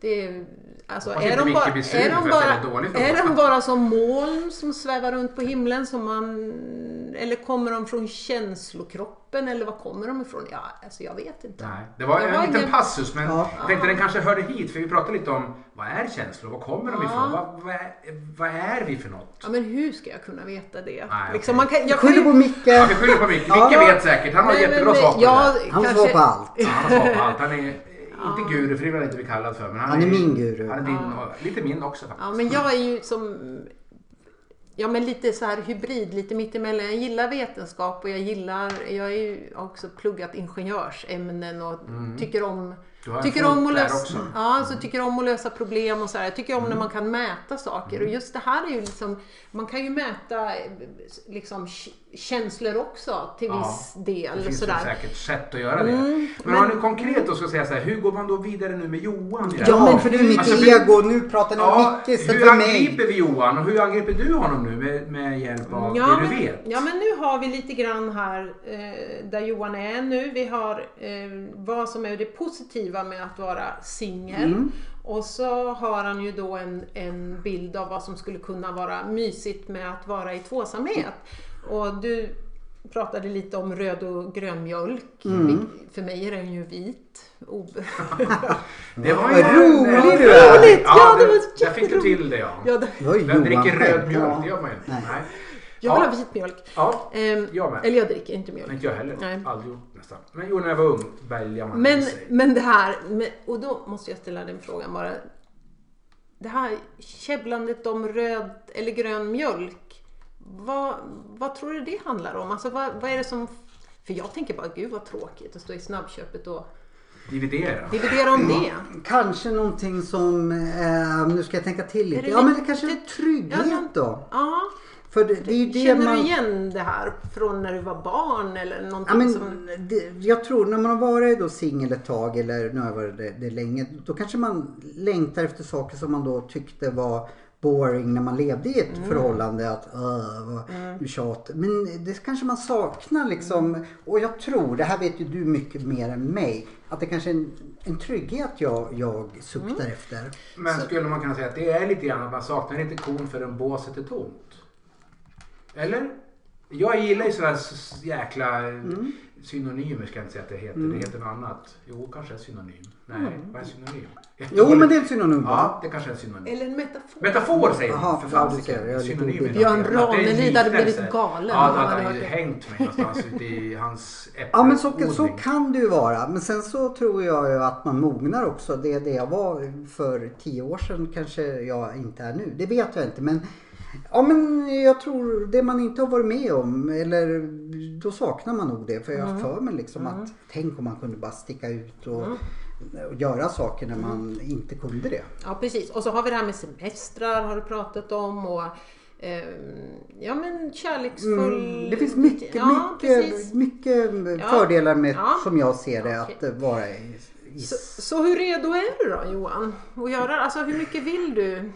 C: Det, är- alltså,
A: Hoppas
C: är,
A: inte
C: de
A: Micke
C: bara,
A: blir sur
C: är,
A: för
C: de
A: att jag ställer
C: bara,
A: dålig fråga.
C: är de bara som moln som svävar runt på himlen? Som man, eller kommer de från känslokroppen? Eller var kommer de ifrån? Ja, alltså jag vet inte.
A: Nej, det var
C: Jag
A: en
C: har
A: liten
C: ingen-
A: passus men
B: Ja.
A: jag tänkte den kanske hörde hit för vi pratade lite om vad är känslor, var kommer de
C: Ja.
A: ifrån, vad, vad, är, vad är vi för något?
C: Ja, men hur ska jag kunna veta det?
A: Nej,
C: liksom,
A: okej.
C: man kan, jag kan
B: Skyller
C: ju,
B: på Micke.
A: Ja, vi skyller på Micke, Micke
B: Ja.
A: vet säkert, han har
C: Nej, men-
A: jättebra
C: men-
A: svar på
C: jag
A: det
B: Han
C: kanske-
B: svarar på allt.
A: där. Ja, Han har svar på allt, han är eh, inte guru för det vill han inte bli kallad för men han,
B: Han är
A: ju-
B: min guru.
A: Han är din, och lite min också faktiskt.
C: Ja, men jag är ju som Ja, men lite så här hybrid, lite mittemellan. Jag gillar vetenskap och jag gillar, jag har ju också pluggat ingenjörsämnen och tycker
A: Mm.
C: om
A: Du har en
C: Tycker
A: fot
C: om, att
A: där
C: lösa,
A: också. Mm.
C: ja, så tycker om att lösa problem och så här. Jag tycker om när man kan mäta saker och just det här är ju liksom, man kan ju mäta eh, liksom k- känslor också till
A: Ja,
C: viss del.
A: Det finns
C: så
A: ju
C: där.
A: säkert sätt att göra det.
C: Mm,
A: men, om man nu konkret då ska säga så här, hur går man då vidare nu med Johan? i det här?
B: Ja, men för nu är mitt
A: Alltså, vi-
B: ego. Nu pratar ni om
A: Ja,
B: Micke istället
A: hur
B: för mig.
A: angriper vi Johan och hur angriper du honom nu med, med hjälp av
C: Ja
A: det du
C: men,
A: vet?
C: ja men nu har vi lite grann här eh, där Johan är nu. Vi har eh, vad som är det positiva med att vara singel.
A: Mm.
C: Och så har han ju då en, en bild av vad som skulle kunna vara mysigt med att vara i tvåsamhet. Och du pratade lite om röd och grön mjölk.
A: Mm.
B: Mm.
C: Vil- För mig är den ju vit. Ob-
A: Det var
B: Vad rolig du
A: Ja,
B: är.
C: Roligt, ja, det var
A: Där fick du
C: jätteroligt.
A: till det ja.
C: ja, det-
B: Det var ju
A: Vem
B: Johan
A: dricker röd
B: själv.
A: mjölk?
B: Ja.
A: Det gör man ju inte.
B: Nej.
A: Nej.
C: jag
A: Ja.
C: vill ha vit mjölk.
A: Ja,
C: Ehm,
A: Jag med.
C: eller jag dricker inte mjölk.
A: inte jag heller.
C: Nej.
A: Aldrig gjort nästan. Men jo, när jag var ung bälgade man i
C: Men,
A: sig.
C: men det här, men- och då måste jag ställa den frågan bara. Det här käbblandet om röd eller grön mjölk. Vad, vad tror du det handlar om? Alltså vad, vad är det som... För jag tänker bara, gud vad tråkigt att stå i snabbköpet och
A: Dividera.
C: dividera om det.
B: Kanske någonting som, eh, nu ska jag tänka till
C: Är det
B: lite. Ja men det
C: lite-
B: kanske är
C: Ja, men-
B: trygghet då.
C: Ja.
B: För det, det är ju det
C: Känner
B: man...
C: du igen det här från när du var barn eller någonting
B: Ja, men,
C: som...
B: det, jag tror när man har varit då singel ett tag eller nu har jag varit det, det länge. Då kanske man längtar efter saker som man då tyckte var boring när man levde i ett förhållande. Att "Åh, vad tjat. Men det kanske man saknar liksom. Och jag tror, det här vet ju du mycket mer än mig. Att det kanske är en, en trygghet jag, jag suktar efter.
A: Men skulle man kunna säga att det är lite grann att man saknar lite kon förrän båset är tomt? Eller? Jag gillar ju sådana jäkla eh,
B: Mm.
A: synonymer ska jag inte säga att det heter. Det heter något annat. Jo, kanske en synonym. Nej, vad är en synonym?
B: Mm. Jo men det är ett synonym
A: Ja,
B: va?
A: det kanske är en synonym.
C: Eller en metafor.
A: Metafor säger
B: Jaha,
A: man för
B: ja, du ser, jag
A: fan.
B: är lite
A: Synonym
B: obildig.
A: är något
C: Björn
A: annat. Det är en
C: Ranelid hade blivit
A: liknelse.
C: galen
A: Ja,
C: om han
A: han
C: hade
A: hade
C: hört
A: ju
C: det.
A: hängt mig någonstans ute i hans
B: Ja men så, så
A: äppelodling.
B: kan det ju vara. Men sen så tror jag ju att man mognar också. Det är det jag var för tio år sedan kanske jag inte är nu. Det vet jag inte men Ja men jag tror det man inte har varit med om eller då saknar man nog det. För jag har
C: Mm.
B: för mig liksom att tänk om man kunde bara sticka ut och, och göra saker när man inte kunde det.
C: Ja precis, och så har vi det här med semestrar har du pratat om och ehm, ja men kärleksfull...
B: Mm, Det finns mycket,
C: ja,
B: mycket,
C: precis.
B: mycket
C: Ja.
B: fördelar med
C: Ja.
B: som jag ser det att
C: Okej.
B: eh, vara i, i
C: Så, så hur redo är du då Johan? Att göra, alltså hur mycket vill du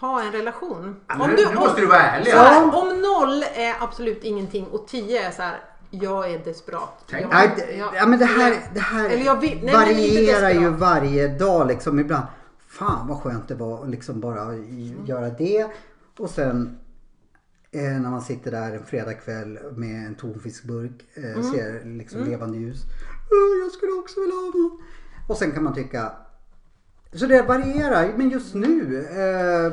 C: ha en relation?
A: Ja, nu- nu måste du vara ärlig.
C: så här,
B: Ja.
C: Om noll är absolut ingenting och tio är så här, jag är desperat.
A: Tänk.
C: Jag-
B: Nej, d-
C: jag-
B: ja, men det här, det här
C: Eller jag vill- nej, men inte
B: varierar ju
C: desperat.
B: varje dag liksom ibland. Fan vad skönt det var att liksom bara i- göra det. Och sen eh, när man sitter där en fredagkväll med en tonfiskburk, eh,
C: Mm.
B: ser Eh, liksom levande ljus. "Åh, Jag skulle också vilja ha någon. Och sen kan man tycka Så det varierar. Men just nu, eh,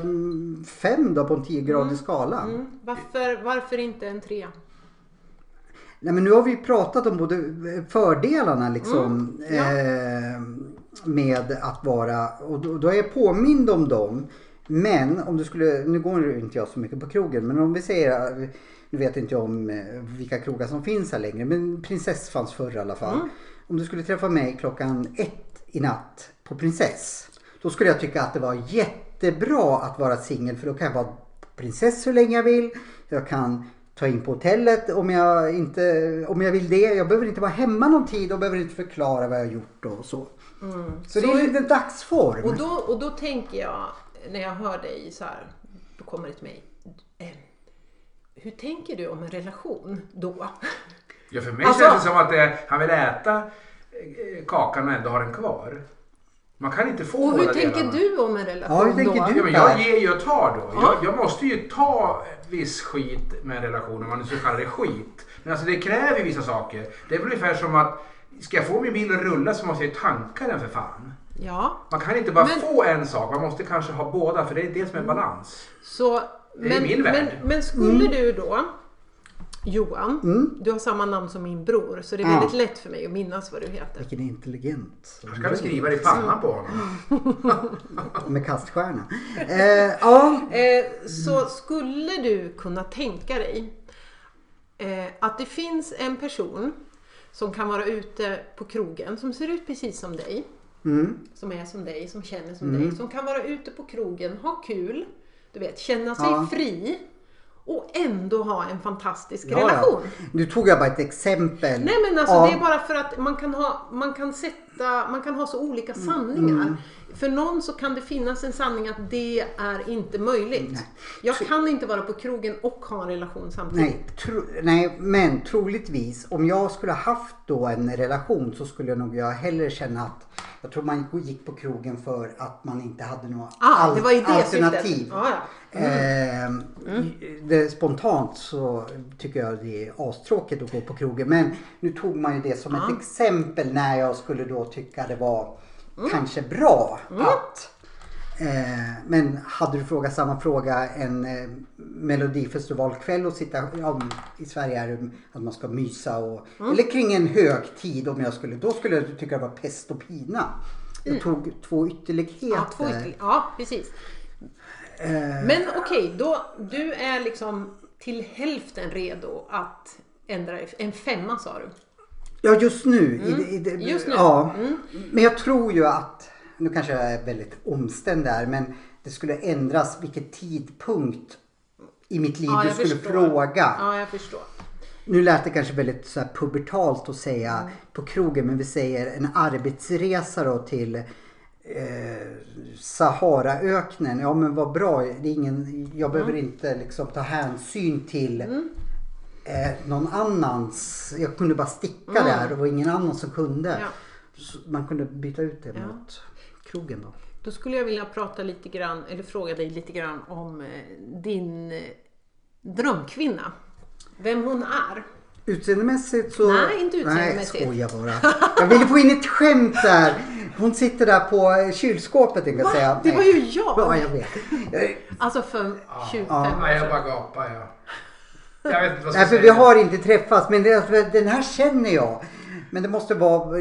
B: fem då på en 10-gradig skala.
C: Mm. Varför, varför inte en trea?
B: Nej, men nu har vi ju pratat om både eh, fördelarna liksom eh, med att vara och då, då är jag påmind om dem. Men om du skulle, nu går ju inte jag så mycket på krogen, men om vi säger, eh, nu vet inte jag om eh, vilka krogar som finns här längre, men Prinsess fanns förr i alla fall. Om du skulle träffa mig klockan ett i natt på Prinsess, då skulle jag tycka att det var jättebra att vara singel för då kan jag vara på Prinsess hur länge jag vill. Jag kan ta in på hotellet om jag, inte, om jag vill det. Jag behöver inte vara hemma någon tid och behöver inte förklara vad jag har gjort och så. Så, det
C: Mm. Så-
B: är lite dagsform.
C: Och då, och då tänker jag, när jag hör dig så här, då kommer det till mig. Eh, hur tänker du om en relation då?
A: Ja, för mig
C: Alltså-
A: känns det som att eh, han vill äta eh, kakan men ändå har den kvar. Man kan inte få
C: Och hur
A: båda
C: tänker
A: delarna.
C: du om en relation
B: Ja, hur tänker
C: då?
B: du?
A: Ja, men jag ger ju och tar då.
C: Ja.
A: Jag, jag måste ju ta viss skit med en relation om man nu ska kalla det skit. Men alltså det kräver ju vissa saker. Det är väl ungefär som att ska jag få min bil att rulla så måste jag ju tanka den för fan.
C: Ja,
A: Man kan inte bara
C: Men-
A: få en sak, man måste kanske ha båda för det är det som är balans.
C: så,
A: är
C: men,
A: min
C: men,
A: värld.
C: men skulle
B: Mm.
C: du då, Johan, du har samma namn som min bror så det är
B: Ja.
C: väldigt lätt för mig att minnas vad du heter.
B: Vilken intelligent.
A: Jag ska väl skriva det i
C: Mm.
A: pannan på honom.
B: Med kaststjärna. Eh, ja,
C: Eh, så skulle du kunna tänka dig eh, att det finns en person som kan vara ute på krogen som ser ut precis som dig.
B: Mm.
C: Som är som dig, som känner som dig. Som kan vara ute på krogen, ha kul, du vet, känna sig
B: Ja.
C: fri och ändå ha en fantastisk
B: ja,
C: relation.
B: ja. Nu tog jag bara ett exempel.
C: Nej men alltså
B: av-
C: det är bara för att man kan ha, man kan sätta, man kan ha så olika
B: Mm.
C: sanningar. För någon så kan det finnas en sanning att det är inte möjligt. Jag kan inte vara på krogen och ha en relation samtidigt.
B: Nej, tro, nej, men troligtvis om jag skulle ha haft då en relation så skulle jag nog jag hellre känna att jag tror man gick på krogen för att man inte hade några
C: Ah, det var i det
B: alternativ.
C: syftet. Ah, Ja, ja.
B: Ehm,
C: Mm.
B: Det, spontant så tycker jag det är astråkigt att gå på krogen. Men nu tog man ju det som ett exempel när jag skulle då tycka det var
C: Mm.
B: kanske bra att Eh, men hade du frågat samma fråga en eh, melodifestivalkväll och sitta, ja, i Sverige är det att man ska mysa och,
C: Mm.
B: eller kring en högtid om jag skulle, då skulle jag tycka det var pest och pina. Jag tog två ytterligheter.
C: Mm. Ja, två ytterligare. Ja, precis.
B: Eh,
C: Men okej, då du är liksom till hälften redo att ändra en femma sa du.
B: Ja, just nu. I, det- i, det-
C: Mm. Just nu. Mm.
B: Ja. Men jag tror ju att, nu kanske jag är väldigt omständ där, men det skulle ändras vilket tidpunkt i mitt liv
C: Ja,
B: du
C: jag
B: skulle
C: förstår.
B: fråga.
C: Ja, jag förstår.
B: Nu lät det kanske väldigt så här pubertalt att säga
C: Mm.
B: på krogen, men vi säger en arbetsresa då till eh, Saharaöknen. Ja men vad bra, det är ingen, jag behöver
C: Mm.
B: inte liksom ta hänsyn till eh, någon annans. Jag kunde bara sticka där, det var ingen annan som kunde.
C: Mm. Ja.
B: Så man kunde byta ut det
C: Ja.
B: mot krogen då.
C: Då skulle jag vilja prata lite grann, eller fråga dig lite grann om eh, din eh, drömkvinna. Vem hon är.
B: Utseendemässigt så...
C: Nej, inte utseendemässigt.
B: Nej, skojar bara. Jag ville få in ett skämt där. Hon sitter där på eh, kylskåpet tänkte jag säga.
C: Det
B: Nej.
C: var ju jag!
B: Ja, jag vet.
C: Alltså för 25 år
A: Nej, jag
C: sedan.
A: bara gapar ja. Jag vet inte vad jag
B: Nej,
A: ska
B: för vi
A: säga.
B: har inte träffats, men det, alltså- den här känner jag. Men det måste vara,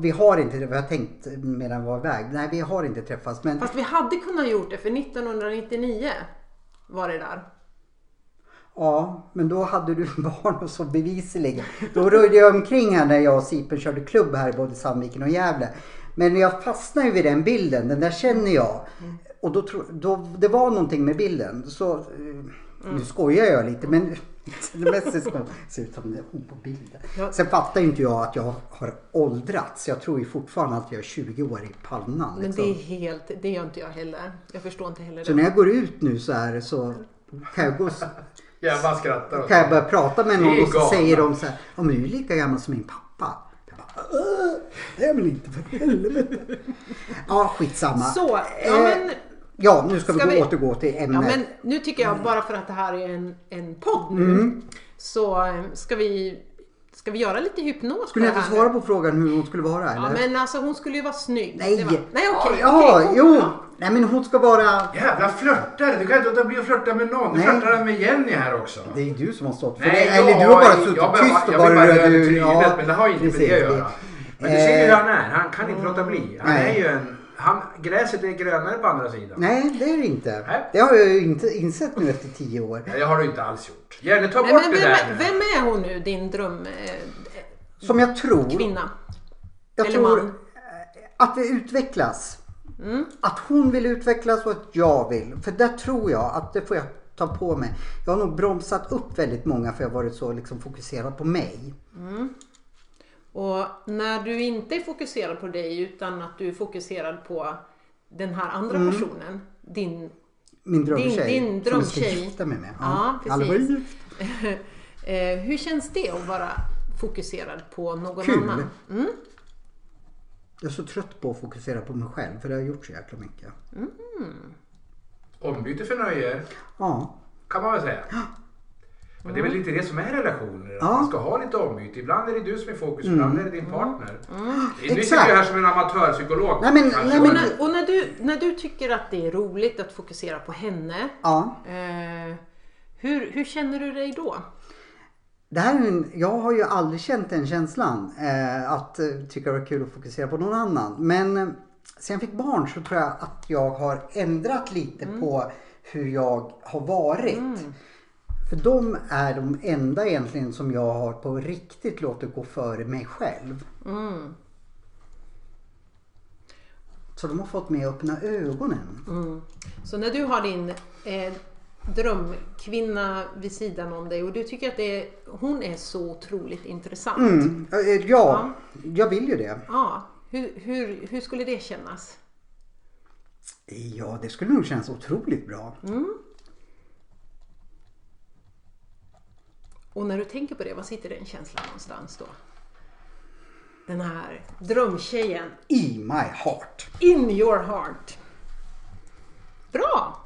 B: vi har inte det, vi har tänkt medan vi var iväg. Nej, vi har inte träffats. Men
C: Fast vi hade kunnat gjort det för 1999 var det där.
B: ja, men då hade du barn och så bevisligen. Då rörde jag omkring här när jag och Sipen körde klubb här i både Sandviken och Gävle. Men jag fastnade ju vid den bilden, den där känner jag.
C: Mm.
B: Och då, tro, då det var någonting med bilden. Så, eh,
C: Mm.
B: Nu skojar jag lite men det mesta ska se ut som det är hon på bilden.
C: Ja.
B: Sen fattar ju inte jag att jag har åldrats. Jag tror ju fortfarande att jag är 20 år i pannan.
C: Men
B: Liksom.
C: det är helt, det gör inte jag heller. Jag förstår inte heller
B: Så
C: det.
B: när jag går ut nu så här så kan jag gå
A: Jag bara skrattar. åt
B: kan jag
A: det.
B: börja prata med någon
A: Det är
B: och så
A: galna.
B: säger de så här, ja men du är ju lika gammal som min pappa. Jag bara, "Åh, det är väl inte för helvete. Ja, skitsamma.
C: Så, ja
B: Eh,
C: men,
B: ja, nu ska,
C: ska
B: vi,
C: vi-
B: gå återgå till
C: ja
B: ämnet.
C: men nu
B: Mm.
C: tycker jag bara för att det här är en, en podd nu så eh, ska vi, ska Ska vi göra lite hypnos
B: Skulle
C: på
B: jag
C: det
B: inte
C: här
B: svara
C: nu?
B: på frågan hur hon skulle vara? Eller?
C: Ja, men alltså hon skulle ju vara snygg.
B: Nej!
C: Det var... Nej, okej.
B: ja,
C: okej,
B: jo!
C: Ja.
B: Nej men hon ska vara...
A: Jävla flörtare! Du kan inte låta bli att flörta med någon. Du
B: Nej.
A: flörtar med Jenny här också.
B: Det är du som har stått för
A: Nej,
B: det. Eller
A: jag-
B: du har bara
A: jag-
B: suttit
A: jag bara-
B: tyst och
A: jag vill
B: bara
A: bara göra
B: du-
A: trynet, men det har ju inte med
B: precis. Eh,
A: det att göra. Men du ser ju hur han är. Han kan inte låta bli. Han
B: Nej.
A: är ju en... Han, gräset är grönare på andra sidan.
B: Nej, det är det inte.
A: Nej.
B: Det har jag ju inte insett nu efter tio år.
A: Nej, Det har du inte alls gjort. Jenny, ta
C: Nej,
A: bort
C: men
A: det
C: vem,
A: där nu.
C: är- vem är hon nu, din dröm... Eh,
B: Som jag tror...
C: kvinna?
B: Jag
C: Eller
B: tror eh,
C: man. Mm.
B: att det utvecklas. Att hon vill utvecklas och att jag vill. För där tror jag att det får jag ta på mig. Jag har nog bromsat upp väldigt många för jag har varit så liksom fokuserad på mig.
C: Och när du inte är fokuserad på dig utan att du är fokuserad på den här andra
B: Mm.
C: personen, din...
B: Min drömtjej.
C: din
B: Som jag ska
C: drömtjej.
B: gifta mig med.
C: Ja, precis.
B: Alla var ju gift.
C: Eh, hur känns det att vara fokuserad på någon
B: Kul.
C: annan?
B: Jag är så trött på att fokusera på mig själv för det har jag gjort så jäkla mycket.
A: Ombyte för nöje,
B: Ja.
A: kan man väl säga. Men det är väl lite det som är relationer. att
B: Ja. Mm.
A: Man ska ha lite ombyte. Ibland är det du som är i fokus, ibland är det din partner.
C: Mm.
A: Det är- Nu sitter
B: Exakt.
A: jag här som en amatörpsykolog.
B: Nej, men-
A: kanske.
B: nej,
C: Och
B: men-
C: när, och när, du, när du tycker att det är roligt att fokusera på henne,
B: ja.
C: eh, hur, hur känner du dig då?
B: Det här är en, jag har ju aldrig känt den känslan. Eh, att eh, tycka det var kul att fokusera på någon annan. Men eh, sen jag fick barn så tror jag att jag har ändrat lite på hur jag har varit. För de är de enda egentligen som jag har på riktigt låtit gå före mig själv. Så de har fått mig att öppna ögonen.
C: Så när du har din eh, drömkvinna vid sidan om dig och du tycker att det är, hon är så otroligt intressant.
B: Mm. eh, eh, Ja, jag vill ju det.
C: Ja, hur, hur, hur skulle det kännas?
B: Ja, det skulle nog kännas otroligt bra.
C: Och när du tänker på det, vad sitter den känslan någonstans då? Den här drömtjejen.
B: I my heart.
C: In your heart. Bra!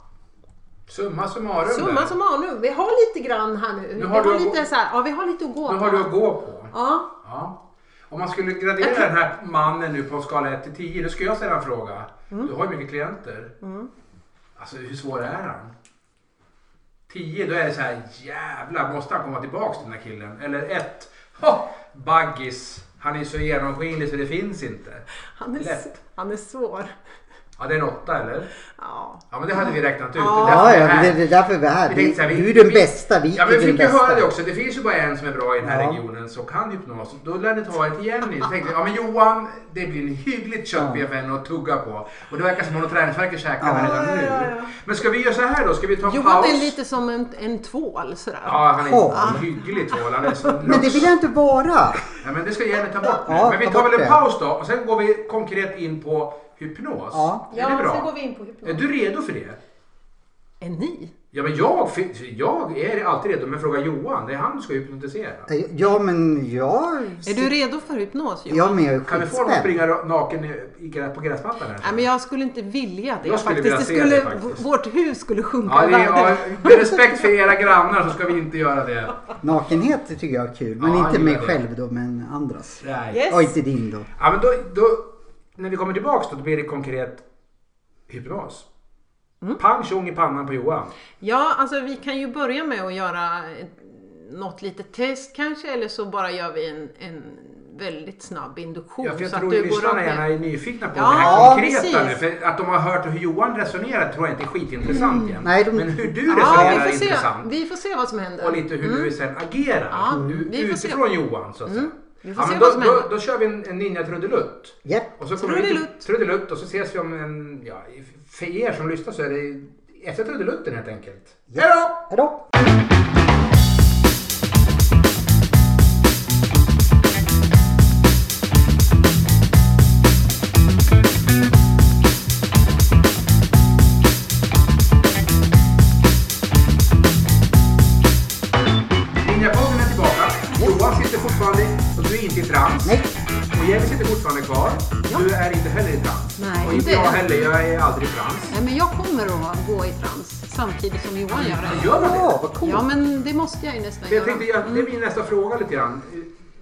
A: Summa summarum.
C: Summa
A: där.
C: summarum, vi har lite grann här nu.
A: Nu har
C: vi, har
A: du-
C: lite så här, ja, vi har lite att gå
A: Nu
C: på.
A: har du att gå på.
C: Ja,
A: Ja. Om man skulle gradera den här mannen nu på en skala 1 till 10, då skulle jag ställa en fråga. Du har ju mycket klienter. Alltså hur svår är han? 10, då är det så här jävlar, måste han komma tillbaks till den här killen? Eller 1, ha, baggis, han är så genomskinlig så det finns inte.
C: han är,
A: Lätt.
C: han är svår.
A: Ja, det är en 8 eller?
C: Ja.
A: Ja, men det hade vi räknat ut. Det är
C: Ja,
A: därför
B: Ja,
A: vi är
B: ja,
A: här.
B: det det är därför vi är här.
A: Vi
B: Vi,
A: tänkte så här, vi-
B: du är den
A: vi-
B: bästa, vi
A: Ja,
B: är
A: men vi
B: den
A: fick ju
B: bästa.
A: höra det också. Det finns ju bara en som är bra i den här
B: Ja.
A: regionen som kan hypnos. Då lär ni ta ett igen. Så tänkte jag, ja men Johan, det blir en hyggligt köttbiff än att tugga på. Och det verkar som hon har träningsvärk i käkarna redan nu. Men ska vi göra så här då? Ska vi ta en
C: Johan
A: paus?
C: är lite som en, en tvål sådär.
A: Ja, han är
B: Ja.
A: hyggligt tål. Han är så
B: Men det vill jag inte vara.
A: ja, men det ska Jenny ta bort nu.
B: Ja,
A: men vi
B: ta
A: tar
B: bort
A: väl en
B: det.
A: paus då och sen går vi konkret in på hypnos.
B: Ja.
A: Är det bra?
C: sen går vi in på
A: Är
C: hypnos.
A: du redo för det?
C: Är ni?
A: Ja, men jag, fin- jag är alltid redo. Men fråga Johan, det är han du ska hypnotisera.
B: Ja, men jag...
C: Är du redo för hypnos Johan?
B: Ja, men jag är
A: Kan vi få honom att
B: skitspänd.
A: springa ra- naken i- i grä- på gräsmattan? här?
C: Nej, men jag skulle inte vilja det
A: Jag skulle
C: faktiskt. Det
A: vilja se
C: skulle,
A: det faktiskt.
C: Vårt hus skulle sjunka
A: Ja,
C: i
A: det är, ja,
C: värde.
A: med respekt för era grannar så ska vi inte göra det.
B: Nakenhet tycker jag är kul. Men
A: Ja,
B: inte
A: jag
B: mig
A: gillar det.
B: själv då, men andras.
A: Nej.
C: Yes.
B: Ja, inte din då.
A: Ja, men då, då, när vi kommer tillbaka då, då blir det konkret hypnos.
C: Mm.
A: Pang tjong i pannan på Johan.
C: Ja, alltså vi kan ju börja med att göra ett- något litet test kanske eller så bara gör vi en, en väldigt snabb induktion.
A: Ja, för jag
C: så att
A: tror
C: du
A: ju
C: går
A: lyssnarna
C: upp med-
A: gärna är nyfikna på
C: Ja,
A: det här konkreta
C: precis. Mm.
A: nu. För att de har hört hur Johan resonerar tror jag inte är skitintressant igen.
B: Nej, de-
A: Men hur du
C: Ja,
A: resonerar
C: vi får,
A: är
C: se,
A: intressant.
C: vi får se vad som händer.
A: Och lite hur du sen agerar.
C: Ja,
A: U-
C: vi får se. Mm.
A: utifrån Johan så att säga.
C: vi får
A: ja,
C: se
A: men
C: vad
A: då,
C: som
A: då,
C: händer.
A: då kör vi en, en ninja trudelutt.
B: Japp.
A: Och så kommer vi till
C: Trudelutt.
A: Trudelutt och så ses vi om en, ja, för er som lyssnar så är det efter trudelutten helt enkelt. Hej då!
B: Hejdå.
A: Ninjapodden är tillbaka. Johan sitter fortfarande och du är inte i trans.
B: Nej.
A: Och Jenny sitter fortfarande kvar. Du är inte heller i trans.
C: Nej,
A: och inte
C: inte
A: jag
C: än.
A: heller, jag är aldrig i trans.
C: Nej, men jag kommer att gå i trans samtidigt som Johan gör det.
A: Gör man det?
B: Ja, vad coolt.
C: Ja, men det måste jag ju nästan
A: Jag
C: göra.
A: tänkte, jag- det är min nästa fråga lite grann.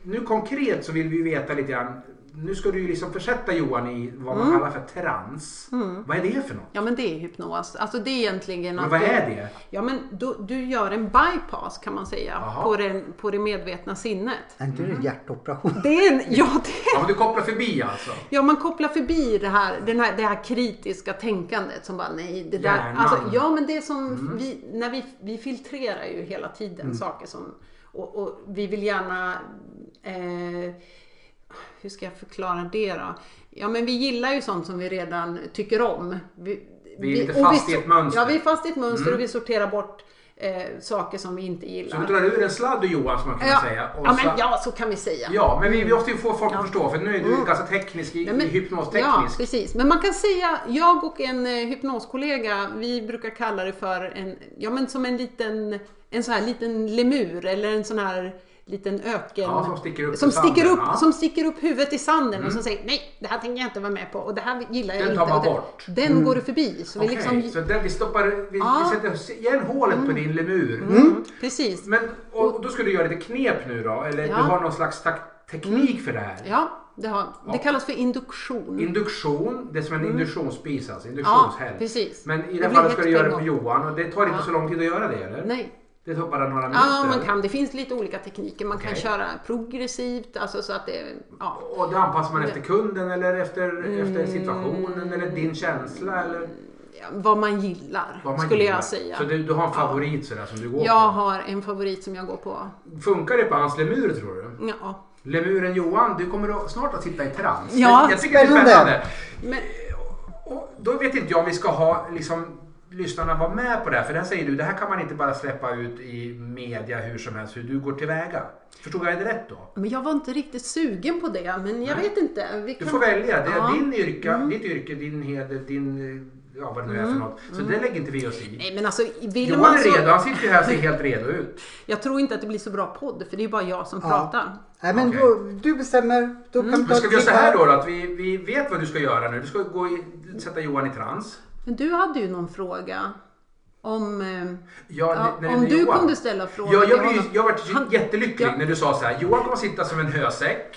A: nu konkret så vill vi ju veta lite grann. Nu ska du ju liksom försätta Johan i vad
C: Mm.
A: man kallar för trans. Vad är det för något?
C: Ja men det är hypnos. Alltså det är egentligen
A: Men
C: att
A: vad
C: du-
A: är det?
C: Ja men du, du gör en bypass kan man säga
A: Jaha.
C: på det, på det medvetna sinnet.
B: Är inte det
A: Mm.
B: en hjärtoperation?
C: Det är en, ja, det,
A: Ja, men du kopplar förbi alltså?
C: ja man kopplar förbi det här, den här, det här kritiska tänkandet som bara nej det där.
A: Hjärnan. Mhm.
C: Alltså, ja men det är som vi, när vi, vi filtrerar ju hela tiden
A: Mm.
C: saker som och, och vi vill gärna eh, hur ska jag förklara det då? Ja men vi gillar ju sånt som vi redan tycker om. Vi,
A: Vi är lite
C: och vi
A: fast i ett
C: so-
A: mönster. Mm.
C: Ja vi är fast i ett mönster och vi sorterar bort eh, saker som vi inte gillar.
A: Så du drar ur en sladd ur Johan som man kan
C: ja,
A: säga. och
C: ja,
A: så-
C: men, ja så kan vi säga.
A: Ja, men vi, vi måste ju få folk att förstå för nu är du ganska teknisk, i,
C: Mm. Nej, men-
A: i
C: Ja,
A: hypnosteknisk.
C: precis. Men man kan säga, jag och en eh, hypnoskollega, vi brukar kalla det för en, ja men som en liten, en sån här liten lemur eller en sån här liten öken.
A: Ja, som sticker upp
C: som
A: i sanden,
C: sticker upp,
A: ja. Mm.
C: som sticker upp huvudet i sanden och som säger nej, det här tänker jag inte vara med på och det här gillar jag
A: Den
C: inte.
A: tar man
C: och det-
A: bort. Mm.
C: Den går du förbi. Så vi
A: Okej,
C: liksom,
A: så där vi stoppar, vi,
C: Ja. Mm.
A: vi sätter igen hålet på din lemur. Mm.
C: precis.
A: Men, och, och då ska du göra lite knep nu då, eller
C: Ja. Mm.
A: du har någon slags tak- teknik för det här.
C: Ja, det, har, det
A: Ja.
C: kallas för induktion.
A: Induktion, det är som en induktionsspis alltså,
C: Mm. ja,
A: induktionshäll.
C: precis.
A: Men i det
C: Det
A: här
C: blir
A: fallet ska
C: hett
A: du göra det
C: på
A: på
C: en
A: Johan och det tar inte
C: Ja.
A: så lång tid att göra det eller?
C: Nej.
A: Det tar bara några minuter.
C: Ja, man kan. Det finns lite olika tekniker. Man kan
A: Okej.
C: köra progressivt, alltså så att det... Ja. Mm.
A: Och det anpassar man efter kunden eller efter, efter situationen eller din känsla eller
C: Ja, vad man gillar,
A: vad man
C: skulle
A: gillar.
C: jag säga.
A: Så du, du har en favorit sådär som du går
C: Jag har en favorit som jag går på.
A: på. Funkar det på hans lemur tror du?
C: Ja.
A: Lemuren Johan, du kommer att- snart att sitta i trans.
C: Ja,
A: jag tycker det är
B: spännande.
A: spännande. Eh,
C: Men,
A: Och då vet inte jag om vi ska ha liksom, lyssnarna vara med på det här. För det här säger du, det här kan man inte bara släppa ut i media hur som helst hur du går tillväga. Förstod jag det rätt då?
C: men jag var inte riktigt sugen på det, men jag vet inte. Vi
A: Du
C: kan...
A: får välja. Det är
C: Ja. Mm.
A: din yrka, ditt yrke, din heder, din... eh, Ja, vad det nu är för något. Så det lägger inte vi oss i.
C: Nej, men alltså, Mm. vill
A: Johan
C: man
A: är redo.
C: så...
A: Han sitter ju här och ser helt redo ut.
C: Jag tror inte att det blir så bra podd, för det är bara jag som
B: Ja.
C: pratar.
B: Nej men
A: Okej.
B: då, du bestämmer. Då
C: Mm.
B: kan
A: Men ska vi göra så här då? då att vi, vi vet vad du ska göra nu. Du ska gå i, sätta Johan i trans.
C: Men du hade ju någon fråga om... eh,
A: Ja,
C: Ja,
A: när- när
C: om
A: det är
C: du
A: Johan.
C: kunde ställa frågan
A: Ja,
C: till
A: jag, blev, ju-
C: honom.
A: jag vart ju
C: Han-
A: jättelycklig
C: Ja.
A: när du sa så här. Johan kommer sitta som en hösäck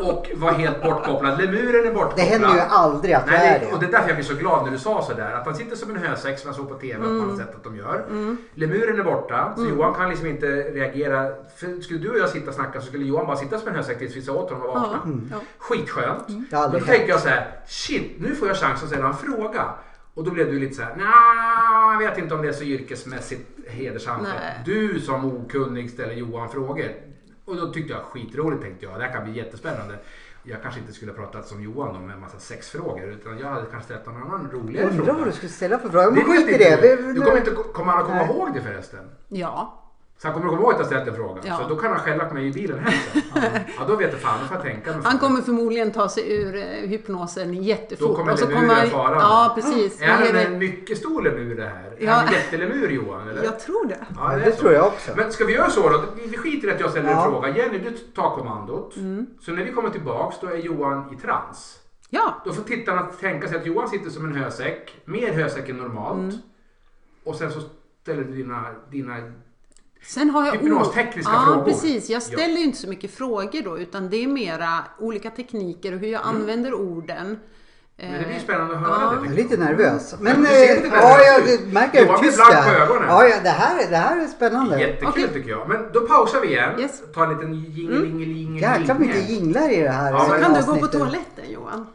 A: och vara helt bortkopplad. Lemuren är bortkopplad.
B: Det händer ju aldrig att jag
A: Nej,
B: är
A: det, och
B: det.
A: det är därför jag blir så glad när du sa sådär. Att han sitter som en hösäck som jag såg på TV att
C: Mm.
A: man har sett att de gör. Lemuren är borta så Johan kan liksom inte reagera. För skulle du och jag sitta och snacka så skulle Johan bara sitta som en hösäck tills vi sa åt honom att vakna.
C: Ja,
B: Mm.
C: ja.
A: Skitskönt.
C: Mm.
B: Det har
A: Då
B: aldrig
A: tänkte jag så här, shit nu får jag chansen att ställa en fråga. Och då blev du lite så här, nja, jag vet inte om det är så yrkesmässigt hedersamt.
C: Nej.
A: Du som okunnig ställer Johan frågor. Och då tyckte jag skitroligt tänkte jag, det här kan bli jättespännande. Jag kanske inte skulle ha pratat som Johan om en massa sexfrågor utan jag hade kanske ställt någon annan roligare
B: Undrar vad
A: fråga.
B: du skulle ställa för fråga. Men
A: vet
B: skit i
A: inte
B: det.
A: du.
B: Vi-
A: Du
B: nu-
A: kommer inte kommer han att komma
B: Nej.
A: ihåg det förresten.
C: ja.
A: Så han kommer att komma ihåg att jag ställt en fråga.
C: Ja.
A: Så då kan han skälla på mig i bilen hem sen. Ja, då vet jag fan, då får jag tänka mig för.
C: Han kommer förmodligen ta sig ur eh, hypnosen jättefort.
A: Då kommer
C: och så
A: lemuren
C: kommer-
A: farande.
C: Ja, precis.
A: Är
C: Då är
A: han
C: det-
A: en mycket stor lemur det här?
C: Ja.
A: Är han en jättelemur Johan? Eller?
C: Jag tror det.
A: Ja,
B: Ja,
A: är
B: det
A: så.
B: tror jag också.
A: Men ska vi göra så då? Vi skiter i att jag ställer
B: Ja.
A: en fråga. Jenny, du tar kommandot.
C: Mm.
A: Så när vi kommer tillbaks då är Johan i trans.
C: Ja,
A: Då får tittarna tänka sig att Johan sitter som en hösäck. Mer hösäck än normalt.
C: Mm.
A: Och sen så ställer du dina... dina
C: Eh, sen har jag...
A: Hypnostekniska
C: ja,
A: frågor.
C: precis. Jag
A: Ja.
C: ställer ju inte så mycket frågor då, utan det är mera olika tekniker och hur jag använder orden. Eh,
A: Mm. men det blir spännande att höra
C: Ja.
A: det.
B: Jag är
A: tycker jag.
B: lite nervös. Men
A: du ser
B: eh,
A: lite
B: ja,
A: nervös
B: jag
A: ut.
B: det märker
A: Johan
B: hur
A: blir
B: tyst
A: blank
B: jag
A: på ögonen.
B: Ja, ja, det här, är- det här är spännande.
A: Jättekul
C: Okej.
A: tycker jag. Men då pausar vi igen.
C: Yes. Mm.
A: Ta en liten jingel, jingel, jingel.
B: Jäklar
A: jingel.
B: mycket jinglar i det här
A: Ja, men-
B: eh,
C: Kan du gå på
B: avsnittet.
C: toaletten Johan?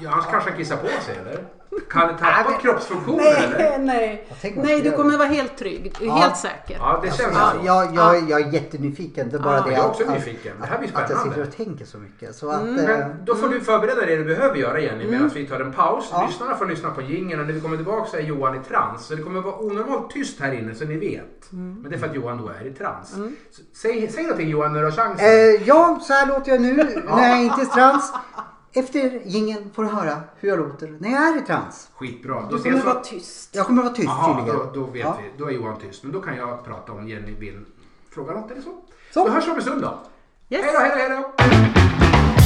A: Ja, annars kanske han kissar på sig eller? Kan det tappa kroppsfunktionen eller?
C: Nej, nej.
B: Jag tänker
C: Nej,
B: inte
C: du
B: göra
C: kommer
B: det.
C: vara helt trygg.
B: Ja.
C: Helt säker.
A: Ja, det känns
B: Ja,
A: så.
B: jag,
C: Ah.
B: jag, jag är jättenyfiken. Det är bara
C: Ja.
A: alltså. Ah, Jag
B: det
A: är
B: att-
A: också
B: att-
A: nyfiken. Det här blir
B: Att jag
A: spännande.
B: sitter och tänker så mycket. Så att,
C: Mm.
B: eh,
A: Men då får du förbereda det du behöver göra Jenny medan
B: Mm.
A: vi tar en paus. Lyssnarna får lyssna på jingeln och när vi kommer tillbaka så är Johan i trans. Så det kommer vara onormalt tyst här inne så ni vet.
B: Mm.
A: Men det är för att Johan då är i trans. Så, säg, säg någonting Johan när du har chansen.
B: Eh, ja, så här låter jag nu när jag inte är trans. Efter gingen får du höra hur jag låter när jag är i trans.
A: Skitbra. Då
C: Du kommer
A: ses vi.
C: vara tyst.
B: Jag kommer att vara tyst
A: Jaha,
B: tydligen.
A: då, då vet
B: Ja.
A: vi. Då är Johan tyst. Men då kan jag prata om Jenny vill fråga något eller så.
B: Så.
A: Då hörs vi om en stund då.
C: Yes.
A: Hej då, hej då, hej då.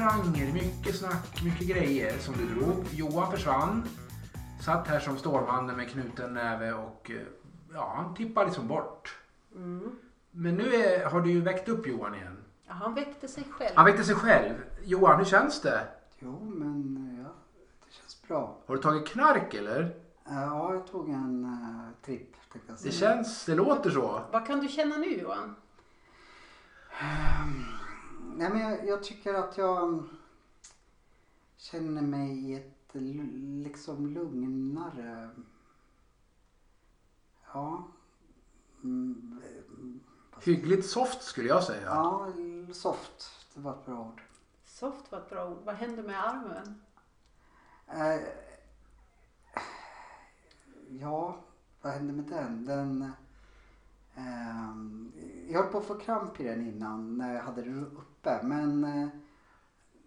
A: nou eh, snack, mycket grejer som du drog. Johan försvann. Satt här som Stålmannen med knuten näve och eh, ja, han tippade liksom bort. Men nu är, har du ju väckt upp Johan igen.
C: Ja, han väckte sig själv.
A: Han väckte sig själv. Johan, hur känns det?
B: Jo, men ja, det känns bra. Eh,
A: Har du tagit knark eller?
B: Ja, jag tog en eh, tripp tänkte jag
A: Det
B: säga.
A: känns, det låter så.
C: Vad kan du känna nu Johan?
B: Nej, men jag, jag tycker att jag mm, känner mig i ett lu- liksom lugnare... Ja. Mm,
A: Hyggligt soft skulle jag säga.
B: ja, soft. Det var ett bra ord.
C: Soft var ett bra ord. Vad händer med armen?
B: Eh, ja, vad hände med den? den ehm, jag höll på att få kramp i den innan när jag hade den uppe men, eh,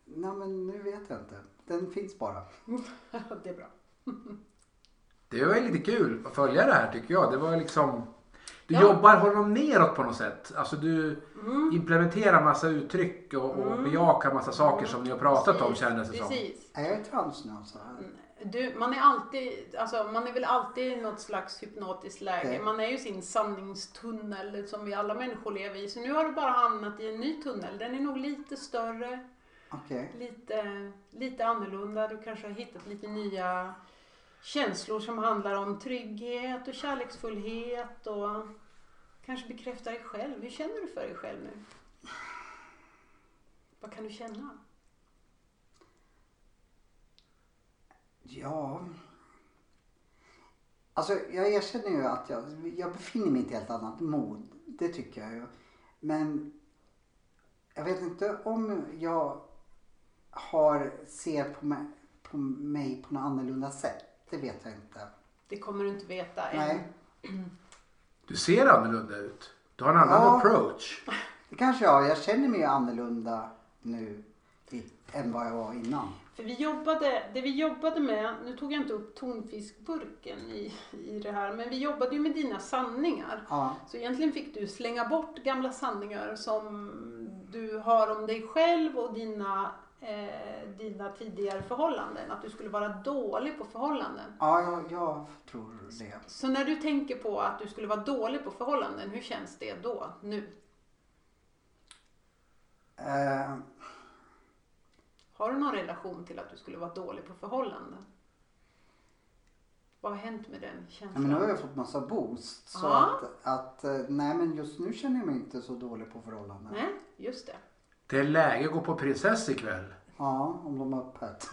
B: nej, men nu vet jag inte. Den finns bara.
C: det är bra.
A: Det var ju lite kul att följa det här tycker jag. Det var liksom... Du
C: Ja. Mm.
A: jobbar, håller dem neråt på något sätt. Alltså du implementerar massa uttryck och, och bejakar massa saker som ni har pratat om kändes det som.
C: Precis.
B: Är jag är trans nu alltså.
C: Du, man, är alltid, alltså, man är väl alltid i något slags hypnotiskt läge.
B: Ja.
C: Man är ju i sin sanningstunnel som vi alla människor lever i. Så nu har du bara hamnat i en ny tunnel. Den är nog lite större,
B: Okej.
C: lite, lite annorlunda. Du kanske har hittat lite nya känslor som handlar om trygghet och kärleksfullhet och kanske bekräfta dig själv. Hur känner du för dig själv nu? Vad kan du känna?
B: Ja. Alltså jag erkänner ju att jag, jag befinner mig i ett helt annat mod. Det tycker jag ju. Men jag vet inte om jag har, ser på mig, på mig på något annorlunda sätt. Det vet jag inte.
C: Det kommer du inte veta än.
B: Nej,
A: Du ser annorlunda ut. Du har en annan
B: Ja.
A: approach.
B: det kanske jag har. Jag känner mig ju annorlunda nu i- än vad jag var innan.
C: För vi jobbade, det vi jobbade med, nu tog jag inte upp tonfiskburken i, i det här, men vi jobbade ju med dina sanningar.
B: Ja,
C: Så egentligen fick du slänga bort gamla sanningar som du har om dig själv och dina, eh, dina tidigare förhållanden. Att du skulle vara dålig på förhållanden.
B: ja jag, jag tror det.
C: Så när du tänker på att du skulle vara dålig på förhållanden, hur känns det då, nu?
B: Eh,
C: Har du någon relation till att du skulle vara dålig på förhållanden? Vad har hänt med den
B: Ja,
C: känslan?
B: men nu har jag fått massa boost. Så
C: Ja.
B: att, att, eh, nej men just nu känner jag mig inte så dålig på förhållanden.
C: Nej, just det.
A: Det är läge att gå på prinsess ikväll.
B: Ja, om de har öppet.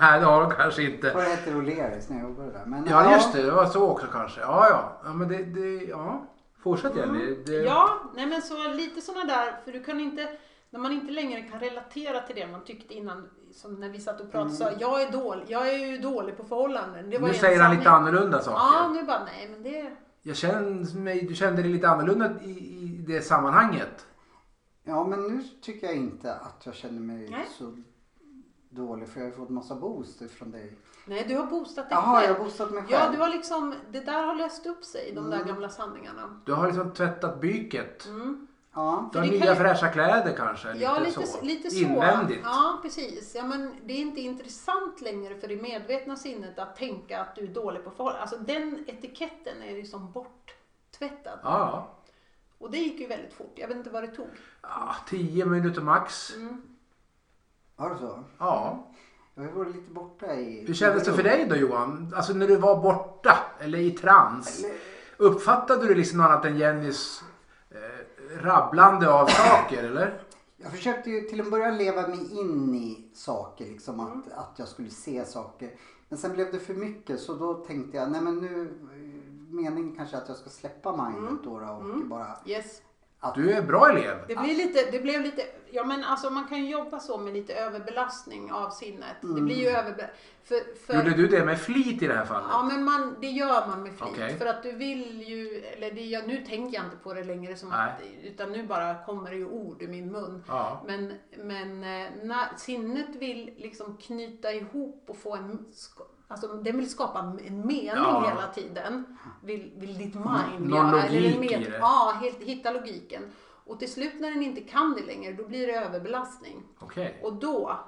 A: Nej, det har de kanske
B: Det var
A: inte.
B: rätt roligt när jag jobbade där. Men,
A: Ja, just det. Det var så också kanske. Ja, ja. ja men det, det, ja. Fortsätt Jenny. Det,
C: Mm. Ja, nej men så lite sådana där, för du kan inte, när man inte längre kan relatera till det man tyckte innan, som när vi satt och pratade, så jag är dålig, jag är ju dålig på förhållanden. Det var
A: nu
C: en
A: säger han
C: sanning.
A: lite annorlunda saker.
C: Ja, nu bara, nej men det,
A: Jag känner mig, du kände dig lite annorlunda i, i det sammanhanget.
B: Ja, men nu tycker jag inte att jag känner mig
C: Nej.
B: så dålig för jag har fått massa boost från dig.
C: nej du har boostat dig
B: Jaha, jag
C: själv.
B: har boostat mig själv.
C: Ja, du har liksom, det där har löst upp sig, de där gamla sanningarna.
A: Du har liksom tvättat byket.
B: Ja,
A: Du
C: Mm. För
A: har
C: det
A: nya
C: kan ju-
A: fräscha kläder kanske. Lite,
C: ja, lite
A: så.
C: så. Lite så.
A: Invändigt.
C: Ja, precis. Ja, men det är inte intressant längre för det medvetna sinnet att tänka att du är dålig på förhållanden. Alltså den etiketten är liksom borttvättad.
A: Ja.
C: Och det gick ju väldigt fort. Jag vet inte vad det tog.
A: ja. 10 minuter max.
C: Mm.
B: var det så?
A: Ja.
B: Jag har ju varit lite borta i...
A: Hur kändes det för dig då Johan? Alltså när du var borta eller i trans. Uppfattade du liksom något annat än Jennys eh, rabblande av saker eller?
B: Jag försökte ju till en början leva mig in i saker, liksom att, att jag skulle se saker. Men sen blev det för mycket så då tänkte jag, nej men nu, eh, meningen kanske är att jag ska släppa mindet då, då och bara...
C: Yes.
B: Att,
A: Du är en bra elev.
C: Det, blir lite, det blev lite, ja men alltså man kan ju jobba så med lite överbelastning av sinnet. Det blir ju överbe- för,
A: Mm. Gjorde
C: för,
A: du det med flit i det här fallet?
C: Ja men man, det gör man med flit.
A: Okej.
C: För att du vill ju, eller det, jag, nu tänker jag inte på det längre som
A: Nej.
C: att, utan nu bara kommer det ju ord ur min mun.
A: Ja.
C: Men, men eh, när, sinnet vill liksom knyta ihop och få en, sk- alltså den vill skapa en mening
A: Ja.
C: hela tiden. Vill, vill ditt mind
A: Någon
C: göra. eller
A: logik
C: en
A: i det.
C: Ja, helt, hitta logiken. Och till slut när den inte kan det längre, då blir det överbelastning.
A: Okej.
C: Och då,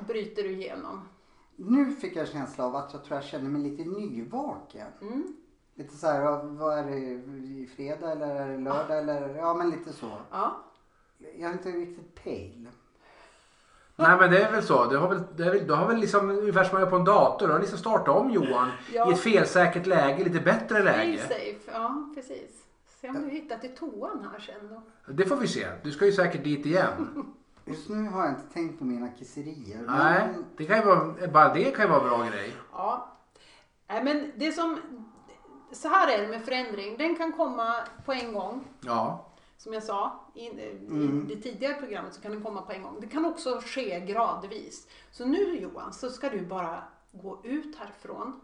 C: bryter du igenom?
B: Nu fick jag känsla av att jag tror jag känner mig lite nyvaken. Lite så här, ja, vad är det, fredag eller är det lördag eller, ja men lite så.
C: Ja.
B: Jag är inte riktigt pale.
A: Nej men det är väl så. Du har väl, det är väl, du har väl liksom ungefär som man gör på en dator. Du har liksom startat om Johan
C: Ja.
A: i ett felsäkert läge, lite bättre
C: Play
A: läge.
C: safe, ja precis. Se om du hittar till toan här sen då.
A: Det får vi se. Du ska ju säkert dit igen.
B: Just nu har jag inte tänkt på mina kisserier.
A: Nej,
B: Men
A: det kan ju vara, bara det kan ju vara en bra grej.
C: Ja. Nej, men det som... Så här är det med förändring. Den kan komma på en gång.
A: Ja.
C: Som jag sa i,
A: Mm.
C: i det tidigare programmet så kan den komma på en gång. Det kan också ske gradvis. Så nu Johan så ska du bara gå ut härifrån.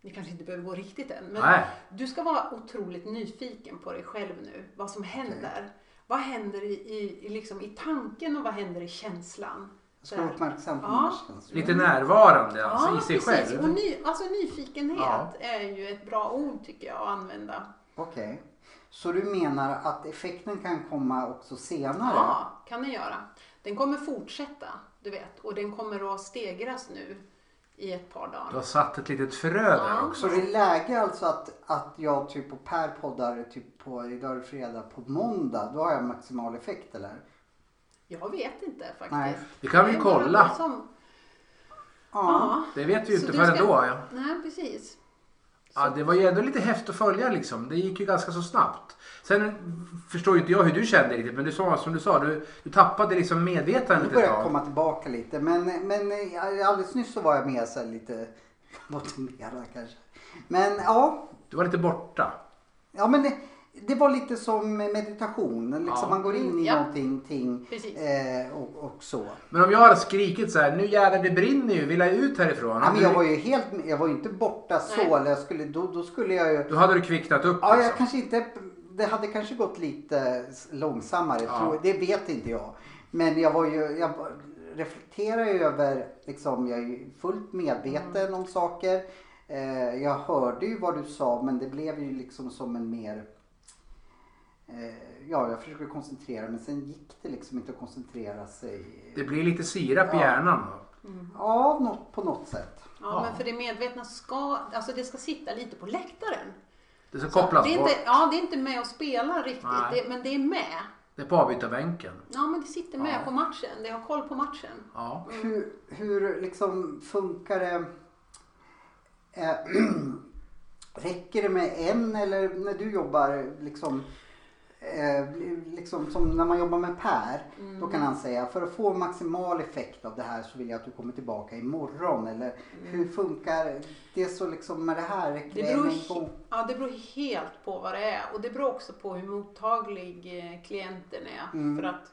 C: Ni kanske inte behöver gå riktigt än. Men
A: Nej.
C: du ska vara otroligt nyfiken på dig själv nu. Vad som händer. Vad händer i, i, i liksom, i tanken och vad händer i känslan?
B: jag ska vara uppmärksam på
C: Ja.
B: mina känslor.
A: Lite närvarande alltså, i sig
C: precis.
A: själv.
C: Och ny, alltså nyfikenhet
A: Ja.
C: är ju ett bra ord tycker jag att använda.
B: Okej. Så du menar att effekten kan komma också senare?
C: Ja, kan den göra. Den kommer fortsätta, du vet. Och den kommer att stegras nu i ett par
A: Du
C: dagar.
A: har satt ett litet frö där
C: Ja.
A: också.
B: Så det är läge alltså att, att jag typ och Per poddar typ på idag är det fredag på måndag. Då har jag maximal effekt eller?
C: Jag vet inte faktiskt.
B: Nej.
A: Det kan vi
C: är bara
A: kolla.
C: det Som,
B: Ja.
C: liksom- ja.
A: Det vet vi ju
C: Så
A: inte
C: du
A: förrän
C: ska-
A: då. Ja.
C: Nej, precis.
A: Ja, det var ju ändå lite häftigt att följa liksom. Det gick ju ganska så snabbt. Sen förstår ju inte jag hur du kände riktigt men du sa som du sa, du, du tappade liksom
B: Nu
A: medvetandet
B: börjar
A: ett
B: jag
A: tag.
B: komma tillbaka lite. Men, men eh, alldeles nyss så var jag med så här lite motiverad kanske. Men ja,
A: Du var lite borta.
B: ja men det, det var lite som meditation. Liksom
A: Ja.
B: Man går in i
C: Ja.
B: någonting ting,
C: Precis.
B: eh, och, och så.
A: Men om jag hade skrikit så här, nu jävlar det brinner ju, vill jag ut härifrån?
B: Ja, men jag var ju helt, jag var ju inte borta så.
C: Nej.
B: Eller jag skulle, då, då skulle jag ju
A: Då hade du kvicknat upp
B: Ja, jag
A: liksom.
B: kanske inte, det hade kanske gått lite långsammare.
A: Ja.
B: Tror, det vet inte jag. Men jag var ju, jag reflekterar ju över, liksom, jag är ju fullt medveten om saker. Eh, jag hörde ju vad du sa men det blev ju liksom som en mer eh, Ja, jag försöker koncentrera men sen gick det liksom inte att koncentrera sig.
A: Det blir lite sirap i
B: Ja.
A: hjärnan då.
B: Ja, något, på något sätt.
C: Ja, men för det medvetna ska, alltså det ska sitta lite på läktaren.
A: Det ska kopplas
C: Det är
A: bort.
C: inte, ja, det är inte med och spela riktigt,
A: Nej.
C: det, men det är med.
A: Det är på avbytarbänken.
C: Ja, men det sitter med på matchen. Det har koll på matchen.
A: Ja.
C: Mm.
B: Hur, hur liksom funkar det? Eh, räcker det med en eller när du jobbar liksom, eh, liksom som när man jobbar med Per. Då
C: Mm.
B: kan han säga för att få maximal effekt av det här så vill jag att du kommer tillbaka imorgon. Eller hur funkar det så liksom med det här? Räcker
C: Mm. Det
B: det, en
C: beror,
B: gång?
C: ja, det beror helt på vad det är och det beror också på hur mottaglig eh, klienten är.
B: Mm.
C: För att,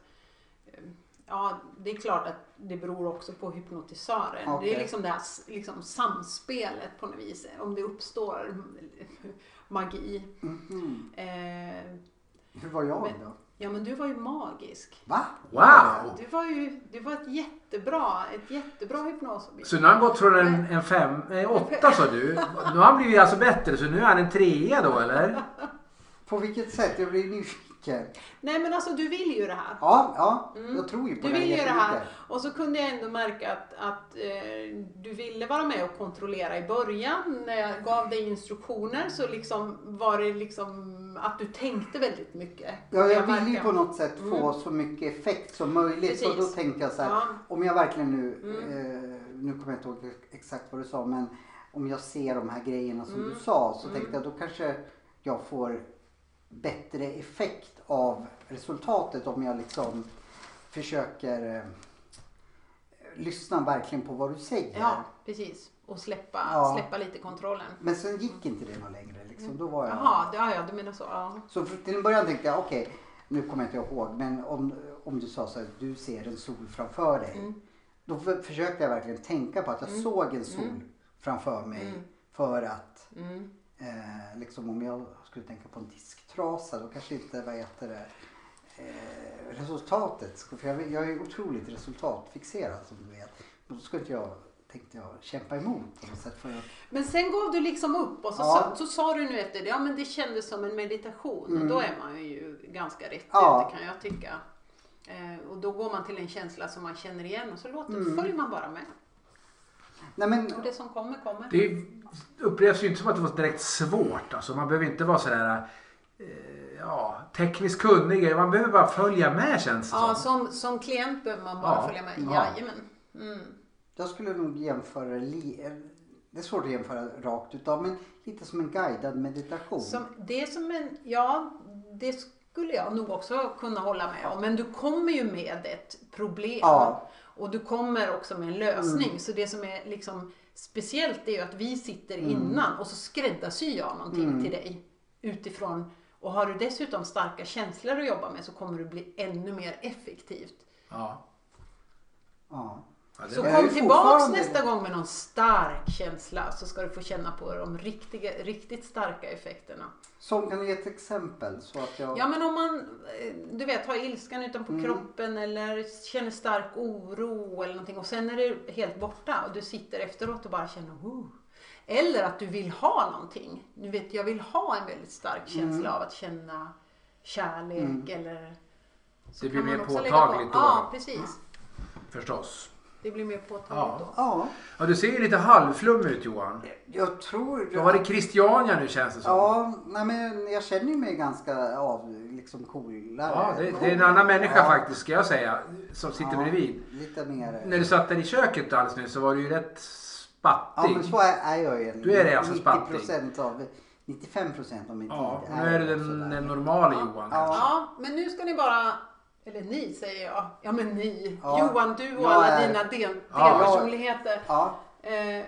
C: eh, ja, det är klart att det beror också på hypnotisören. Det
B: Okej.
C: är liksom det här s- liksom, samspelet på något vis, om det uppstår magi.
B: Mhm.
C: Eh,
B: Hur var jag
C: Men-
B: då?
C: ja men du var ju magisk.
B: Va?
A: Wow!
C: Du var ju du var ett jättebra, ett jättebra hypnosobjekt.
A: Så nu har han gått från en, en fem, eh, åtta sa du. Nu har han blivit alltså bättre så nu är han en trea då eller?
B: På vilket sätt? Jag blir nyfiken.
C: Nej men alltså du vill ju det här.
B: Ja, ja jag tror ju på det
C: Mm. Du
B: här
C: vill ju det här.
B: jättemycket.
C: Och så kunde jag ändå märka att, att eh, du ville vara med och kontrollera i början. När jag gav dig instruktioner så liksom var det liksom att du tänkte väldigt mycket.
B: Ja, jag
C: märkte.
B: vill ju på något sätt få så mycket effekt som möjligt. Så då
C: Mm. Precis.
B: tänkte jag så här,
C: Ja. Mm.
B: om jag verkligen nu, eh, nu kommer jag inte ihåg exakt vad du sa, men om jag ser de här grejerna som
C: Mm.
B: du sa så tänkte jag då kanske jag får bättre effekt av resultatet om jag liksom försöker eh, lyssna verkligen på vad du säger.
C: Ja, precis. Och släppa,
B: Ja.
C: släppa lite kontrollen.
B: Men sen gick inte det något längre liksom. Då var jag...
C: Jaha, det- ja, ja, du menar så. Ja.
B: Så för- till en början tänkte jag, okej, nu kommer jag inte ihåg, men om, om du sa så här, du ser en sol framför dig. Då för, försökte jag verkligen tänka på att jag såg en sol framför mig. För att,
C: Mm.
B: eh, liksom om jag skulle tänka på en disktrasa, då kanske inte, vad heter det, eh, resultatet. skulle- För jag, jag är otroligt resultatfixerad som du vet. Och då skulle inte jag, tänkte jag, kämpa emot på något sätt. För jag,
C: Men sen gav du liksom upp och så,
B: Ja.
C: så, så sa du nu efter det, ja men det kändes som en meditation. Och då är man ju ganska rätt
B: Mm. Ja.
C: ute kan jag tycka. Eh, och då går man till en känsla som man känner igen och så låter,
B: Mm.
C: följer man bara med.
B: Nej men
C: Och det som kommer, kommer.
A: Det upplevs ju inte som att det var direkt svårt. Alltså, man behöver inte vara sådär eh, ja, tekniskt kunnig. Man behöver bara följa med känns det
C: Ja,
A: som.
C: som, som klient behöver man bara
A: Ja,
C: följa med.
A: ja.
C: Jajamän. Mm.
B: jag skulle nog jämföra, li- eh, det är svårt att jämföra rakt utav men lite som en guidad meditation.
C: Som, det är som en, ja, det skulle jag nog också kunna hålla med om. Men du kommer ju med ett problem.
B: Ja. Mm.
C: Och du kommer också med en lösning. Så det som är liksom speciellt är ju att vi sitter
B: Mm.
C: innan och så skräddarsyr jag någonting till dig utifrån. Och har du dessutom starka känslor att jobba med så kommer du bli ännu mer effektivt.
A: Ja.
B: Ja.
A: Ja, det
C: Så
A: var-
B: Jag är
C: kom
B: ju
C: tillbaks
B: fortfarande-
C: nästa gång med någon stark känsla så ska du få känna på de riktiga, riktigt starka effekterna.
B: Som kan du ge ett exempel så att jag...
C: Ja men om man, eh, du vet, har ilskan utanpå
A: Mm.
C: kroppen eller känner stark oro eller någonting och sen är det helt borta och du sitter efteråt och bara känner oh. Eller att du vill ha någonting. Du vet, jag vill ha en väldigt stark
A: Mm.
C: känsla av att känna kärlek eller... Så
A: Det blir
C: kan man
A: mer
C: också lägga
A: påtagligt
C: på.
A: då.
C: Ja, precis.
A: Förstås.
C: Det blir mer påtagligt
A: Ja.
C: då.
B: ja.
A: Ja, du ser ju lite halvflummig ut Johan.
B: Jag tror...
A: Då var det Christiania nu känns det som.
B: Ja, nej men jag känner ju mig ganska av, liksom coolare.
A: Ja, det, det är en annan människa faktiskt ska jag säga. Som sitter
B: Ja,
A: bredvid.
B: Lite mer...
A: När du satt där i köket alldeles nu så var du ju rätt
B: Ja,
A: spattig.
B: men så är, är jag ju.
A: Du är det alltså, spattig.
B: 90% av, 95% av min
A: Ja,
B: tid
A: nu är du den, den normala Johan.
B: Ja.
A: kanske.
C: Ja, men nu ska ni bara, eller ni säger jag, ja men ni,
B: Ja.
C: Johan du och
B: Jag
C: alla
B: är-
C: dina del,
A: Ja.
C: delpersonligheter.
B: Ja,
C: Eh,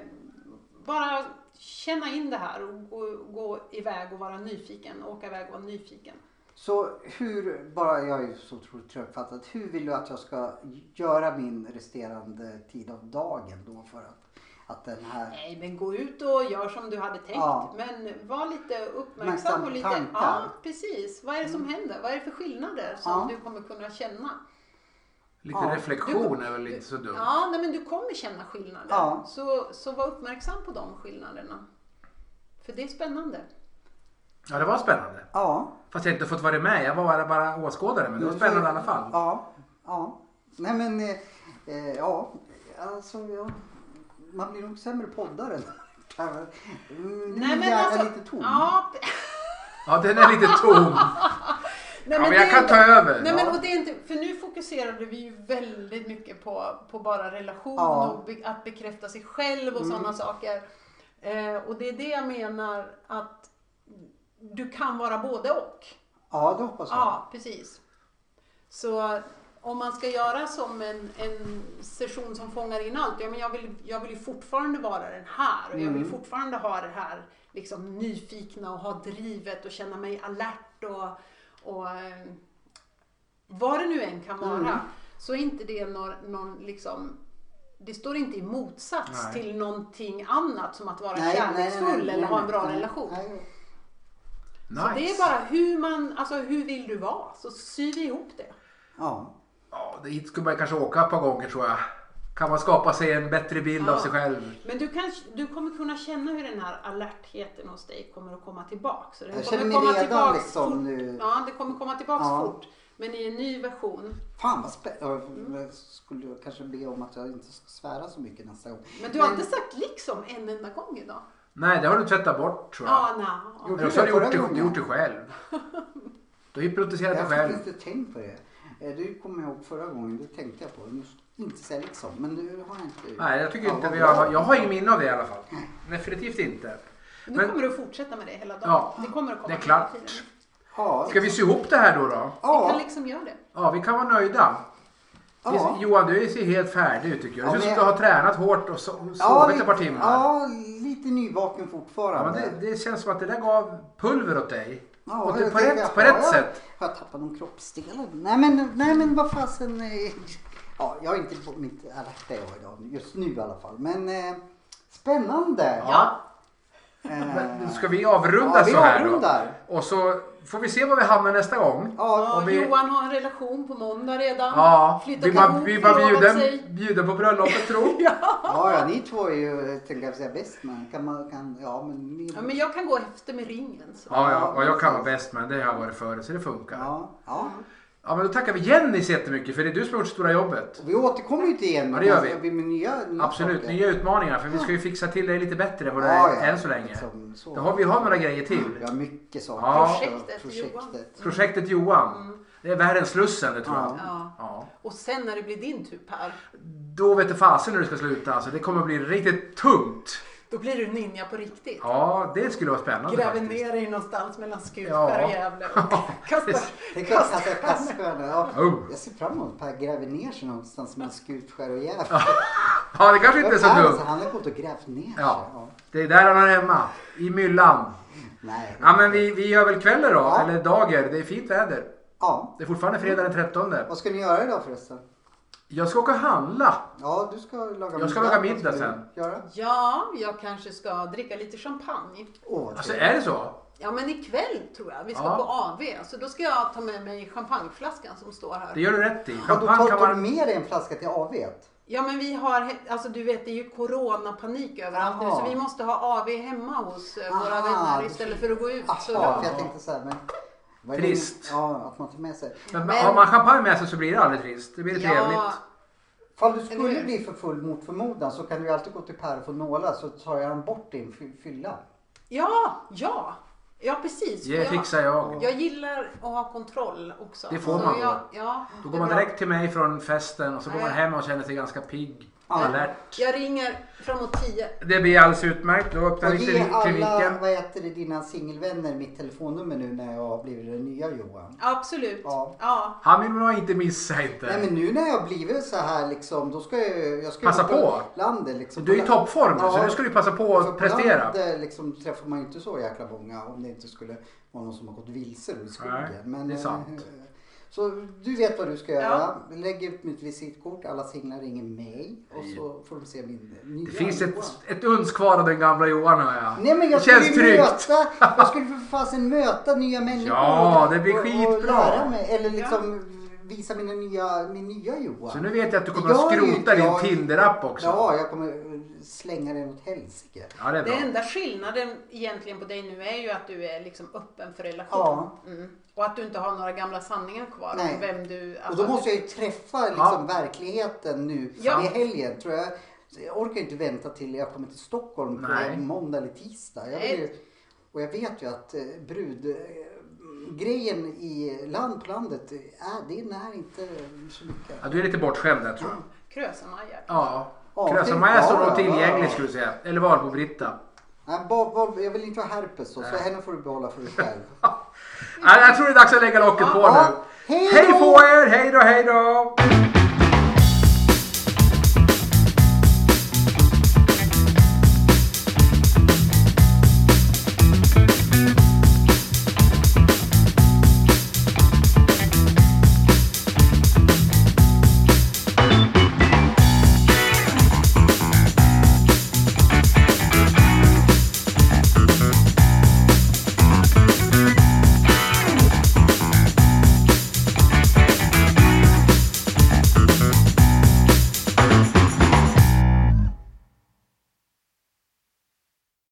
C: bara känna in det här och gå, gå iväg och vara nyfiken, åka iväg och vara nyfiken.
B: så hur, bara jag är ju så otroligt trögfattad. Hur vill du att jag ska göra min resterande tid av dagen då för att, att den här...
C: Nej, men gå ut och gör som du hade tänkt.
B: Ja.
C: Men var lite uppmärksam
B: Uppmärksam
C: och
B: på
C: lite,
B: tankar. Mm.
C: ja precis. Vad är det som händer? Vad är det för skillnader som
B: Ja.
C: du kommer kunna känna?
A: Lite
B: Ja.
A: reflektion är väl inte så dumt.
C: Ja, nej, men du kommer känna skillnader.
B: Ja.
C: Så, så var uppmärksam på de skillnaderna. För det är spännande.
A: Ja, det var spännande.
B: Ja.
A: Fast jag inte fått vara med. Jag var bara åskådare. Men det var
B: Men
A: spännande i
B: så-
A: alla fall.
B: Ja, ja. Nej men, eh, eh, ja. Alltså, ja. Man blir nog sämre poddare. Mm, det blir hjärnan lite tom.
C: alltså, Ja, p-
A: Ja, den är lite tom.
C: nej,
A: Ja, men
C: det
A: jag
C: är
A: kan
C: inte-
A: ta över.
C: Nej,
B: Ja.
C: men, och det är inte, för nu fokuserade vi ju väldigt mycket på, på bara relation
B: Ja.
C: och be, att bekräfta sig själv och sådana saker. Eh, och det är det jag menar att du kan vara både och.
B: Ja, det hoppas jag.
C: Ja, precis. Så om man ska göra som en, en session som fångar in allt, ja, men jag, vill, jag vill ju fortfarande vara den här och jag
B: Mm.
C: vill fortfarande ha det här liksom, nyfikna och ha drivet och känna mig alert och, och eh, vad det nu än kan vara.
B: Mm.
C: Så är inte det någon, någon liksom det står inte i motsats
A: Nej.
C: till någonting annat som att vara kärleksfull eller ha en bra
B: nej,
C: relation.
B: nej.
A: Nice.
C: Så det är bara hur man, alltså hur vill du vara? Så syr vi ihop det.
B: Ja.
A: Ja, det hit skulle man kanske åka ett par gånger tror jag. Kan man skapa sig en bättre bild av
C: Ja.
A: sig själv.
C: Men du, kan, du kommer kunna känna hur den här alertheten hos dig kommer att komma tillbaks. Så den
B: Jag
C: kommer
B: känner mig
C: komma
B: redan
C: tillbaks
B: liksom
C: fort.
B: nu.
C: Ja, det kommer komma tillbaks
B: Ja.
C: fort. Men i en ny version.
B: Fan vad spännande. Jag skulle jag kanske be om att jag inte ska svära så mycket nästa gång.
C: Men du har inte sagt liksom en enda gång idag?
A: Nej, det har du tvättat bort tror jag.
C: Ja, nej.
B: Jo.
A: Eller så har du
B: Förra
A: gjort det,
B: gången.
A: du gjort det själv. Du har hypnotiserat
B: Jag
A: dig
B: har
A: själv.
B: faktiskt inte tänkt på det. Eh, Du kommer ihåg förra gången, det tänkte jag på. Nu- Inte så liksom, men nu har jag inte...
A: Nej, jag tycker
B: Ja,
A: inte
B: vad
A: vi
B: bra.
A: har... Jag har ingen minne av det i alla fall. Definitivt inte.
C: Nu
A: Men-
C: kommer du att fortsätta med det hela dagen.
A: Ja,
C: det kommer att komma
A: det är klart.
C: hela tiden.
B: Ja,
A: Ska vi sy ihop det här då? då?
C: Vi
B: ja,
C: kan liksom göra det.
A: Ja, vi kan vara nöjda. Vi-
B: ja.
A: Johan, du ser helt färdig ut tycker jag.
B: Ja,
A: Du ser ut
B: men-
A: att du har tränat hårt och so- sovit ett par
B: lite-
A: timmar.
B: Ja, lite nyvaken
A: Ja, men
B: fortfarande.
A: det, det känns som att det där gav pulver åt dig.
B: Ja,
A: och det,
B: jag
A: på
B: tänker,
A: rätt, på
B: har
A: rätt
B: jag-
A: sätt.
B: Har jag tappat någon kroppsdel? Nej men, nej, men vad fasen. eh, Ja, jag är inte på mitt alerta jag är idag, just nu i alla fall. Men eh, spännande.
C: Ja.
B: Eh,
A: Men Ska vi avrunda
B: Ja, vi
A: så här
B: avrundar.
A: då? Och så får vi se var vi hamnar nästa gång.
B: ja,
C: Ja,
A: och vi-
C: Johan har en relation på måndag redan.
A: Ja,
C: Flyttar
A: vi bara,
C: ihop,
A: vi bara
C: förlovat
A: bjuder,
C: sig.
A: bjuder på bröllopet tror
B: ja, ja, ni två är ju, tänkte jag säga, bäst man. Kan man, kan, ja men ni...
C: Ja, men jag kan gå efter med ringen. Så.
A: Ja, ja, och jag kan vara bäst men det har jag varit före så det funkar.
B: Ja, ja.
A: Ja, men då tackar vi Jenny så jättemycket för det är du som har gjort stora jobbet.
B: Vi återkommer ju till igen
A: Ja, det gör vi.
B: med nya, nya
A: Absolut,
B: saker.
A: nya utmaningar för vi ska ju fixa till det lite bättre än vad det
B: Ja,
A: är
B: ja,
A: än så länge.
B: liksom så.
A: Då har vi har några grejer till.
B: Vi har mycket saker.
A: Ja.
C: Projektet,
B: Projektet.
A: Projektet Johan. Det är värre än Slussen, det tror jag.
B: Ja.
C: Ja.
A: Ja.
C: Och sen när det blir din tur Per,
A: Då vet du fasen hur det ska sluta. Alltså, det kommer bli riktigt tungt.
C: då blir du ninja på riktigt.
A: Ja, det skulle vara spännande
C: Gräver
A: faktiskt.
C: ner dig någonstans mellan Skutskär
A: Ja.
C: och Gävle.
A: Ja,
C: Kastar,
A: precis.
B: Tänk att
C: kastar
B: kasta kaststjärnor. Ja.
A: Oh.
B: Jag ser fram emot att Per gräver ner sig någonstans mellan Skutskär och Gävle.
A: Ja, det kanske inte är så
B: alltså,
A: dumt.
B: han har gått och grävt ner sig.
A: Ja.
B: Ja.
A: Det är där han är hemma. I myllan.
B: Nej.
A: Ja, men vi, vi gör väl kvällen då.
B: Ja.
A: Eller dagar. Det är fint väder.
B: Ja.
A: Det är fortfarande fredag den 13.
B: Vad ska ni göra idag förresten?
A: Jag ska åka och handla.
B: Ja, du ska laga middag.
A: Jag ska laga middag
B: Vad ska du
A: sen.
B: Göra?
C: Ja, jag kanske ska dricka lite champagne.
B: Åh, vad
A: Alltså,
B: trevligt.
A: är det så?
C: Ja, men ikväll tror jag. Vi ska
A: Ja.
C: på AV så då ska jag ta med mig champagneflaskan som står
A: Det
C: här.
A: gör du rätt i.
B: Ja, då
A: Champagne
B: tar
A: kan
B: tar du
A: man...
B: med dig en flaska till AV?
C: Ja, men vi har, he- alltså du vet, det är ju coronapanik överallt nu
B: Jaha.
C: så vi måste ha AV hemma hos eh, våra
A: Ah,
B: Aha,
C: vänner
B: det
C: istället för att gå ut.
B: Jaha,
C: Så
B: för jag tänkte så här, men... vad är det-
A: Trist.
B: Ja, att man tar med sig.
A: Men
C: Men-
A: har man champagne med sig så blir det aldrig trist. Det blir det
C: ja,
A: trevligt.
B: Fall du
C: Eller hur?
B: skulle bli för full mot förmodan så kan du ju alltid gå till Per och få nåla så tar jag han bort din fy- fylla.
C: ja, ja, ja precis. För
A: Det fixar jag.
C: Jag gillar att ha kontroll också.
A: Det får
C: Så
A: man.
C: Jag, ja,
A: Då
C: det
A: går
C: är
A: man
C: bra.
A: direkt till mig från festen och så går
C: Nej.
A: man hem och känner sig ganska pigg.
B: Ja.
A: Alert.
C: Jag ringer framåt 10.
A: Det blir alldeles utmärkt. Då öppnar
B: Och
A: vi
B: ge
A: kli-
B: alla,
A: kliniken.
B: vad heter det, dina singelvänner mitt telefonnummer nu när jag har blivit den nya Johan.
C: Absolut.
B: Ja.
C: ja.
A: Han vill man inte missa
B: Nej
A: inte.
B: men nu när jag har blivit så här liksom, då ska jag ju... Jag ska ju
A: Passa
B: gå
A: på.
B: Landet, liksom.
A: Du är i
B: Kolla-
A: toppform nu, så
B: Ja.
A: nu ska du passa på
B: För
A: att
B: på
A: prestera.
B: landet, liksom, träffar man ju inte så jäkla många om det inte skulle vara någon som har gått vilse i skogen.
A: Nej, det är
B: eh,
A: sant.
B: Så du vet vad du ska göra. Lägg ut mitt visitkort. Alla singlar ringer mig och så får de se min nya
A: Det finns ett,
B: Johan.
A: ett uns kvar av den gamla Johan hör jag.
B: Nej men jag
A: det känns
B: skulle ju
A: tryggt.
B: möta, jag skulle för fasen möta nya människor.
A: Ja,
B: och-
A: det blir
B: och- Och
A: skitbra.
B: lära mig, eller liksom visa mina nya, min nya Johan.
A: Så nu vet jag att du
B: Det
A: kommer att
B: gör ju inte
A: skrota din
B: jag.
A: Tinder-app också.
B: Ja, jag kommer eh, slänga den åt helsike.
A: Ja, det är
C: Det
A: bra.
C: enda skillnaden egentligen på dig nu är ju att du är liksom öppen för relation.
B: Ja.
C: Mm. Och att du inte har några gamla sanningar kvar
B: Nej.
C: om vem du...
B: Och
C: Alltså,
B: då måste jag ju träffa liksom verkligheten nu
C: Ja.
B: i helgen tror jag. Så Jag orkar ju inte vänta till jag kommer till Stockholm på
A: Nej.
B: måndag eller tisdag. Jag vill, ju- och jag vet ju att eh, brud... eh, Grejen i land på landet, eh, är, det är när inte så mycket.
A: Ja, du är lite bortskämd där tror jag.
C: Krösa-Maja.
A: Ja.
B: Ja,
A: Krösa-Maja står
B: ja,
A: nog
B: ja,
A: tillgänglig
B: ja.
A: skulle jag säga. Eller Valbo-Britta.
B: Nej, ba, ba, jag vill inte ha herpes då, så henne får du behålla för dig själv.
A: Ja, Jag tror det är dags att lägga locket på
B: Ja.
A: nu.
B: Hej
A: Hej
B: då!
A: på er! Hej då, hej då!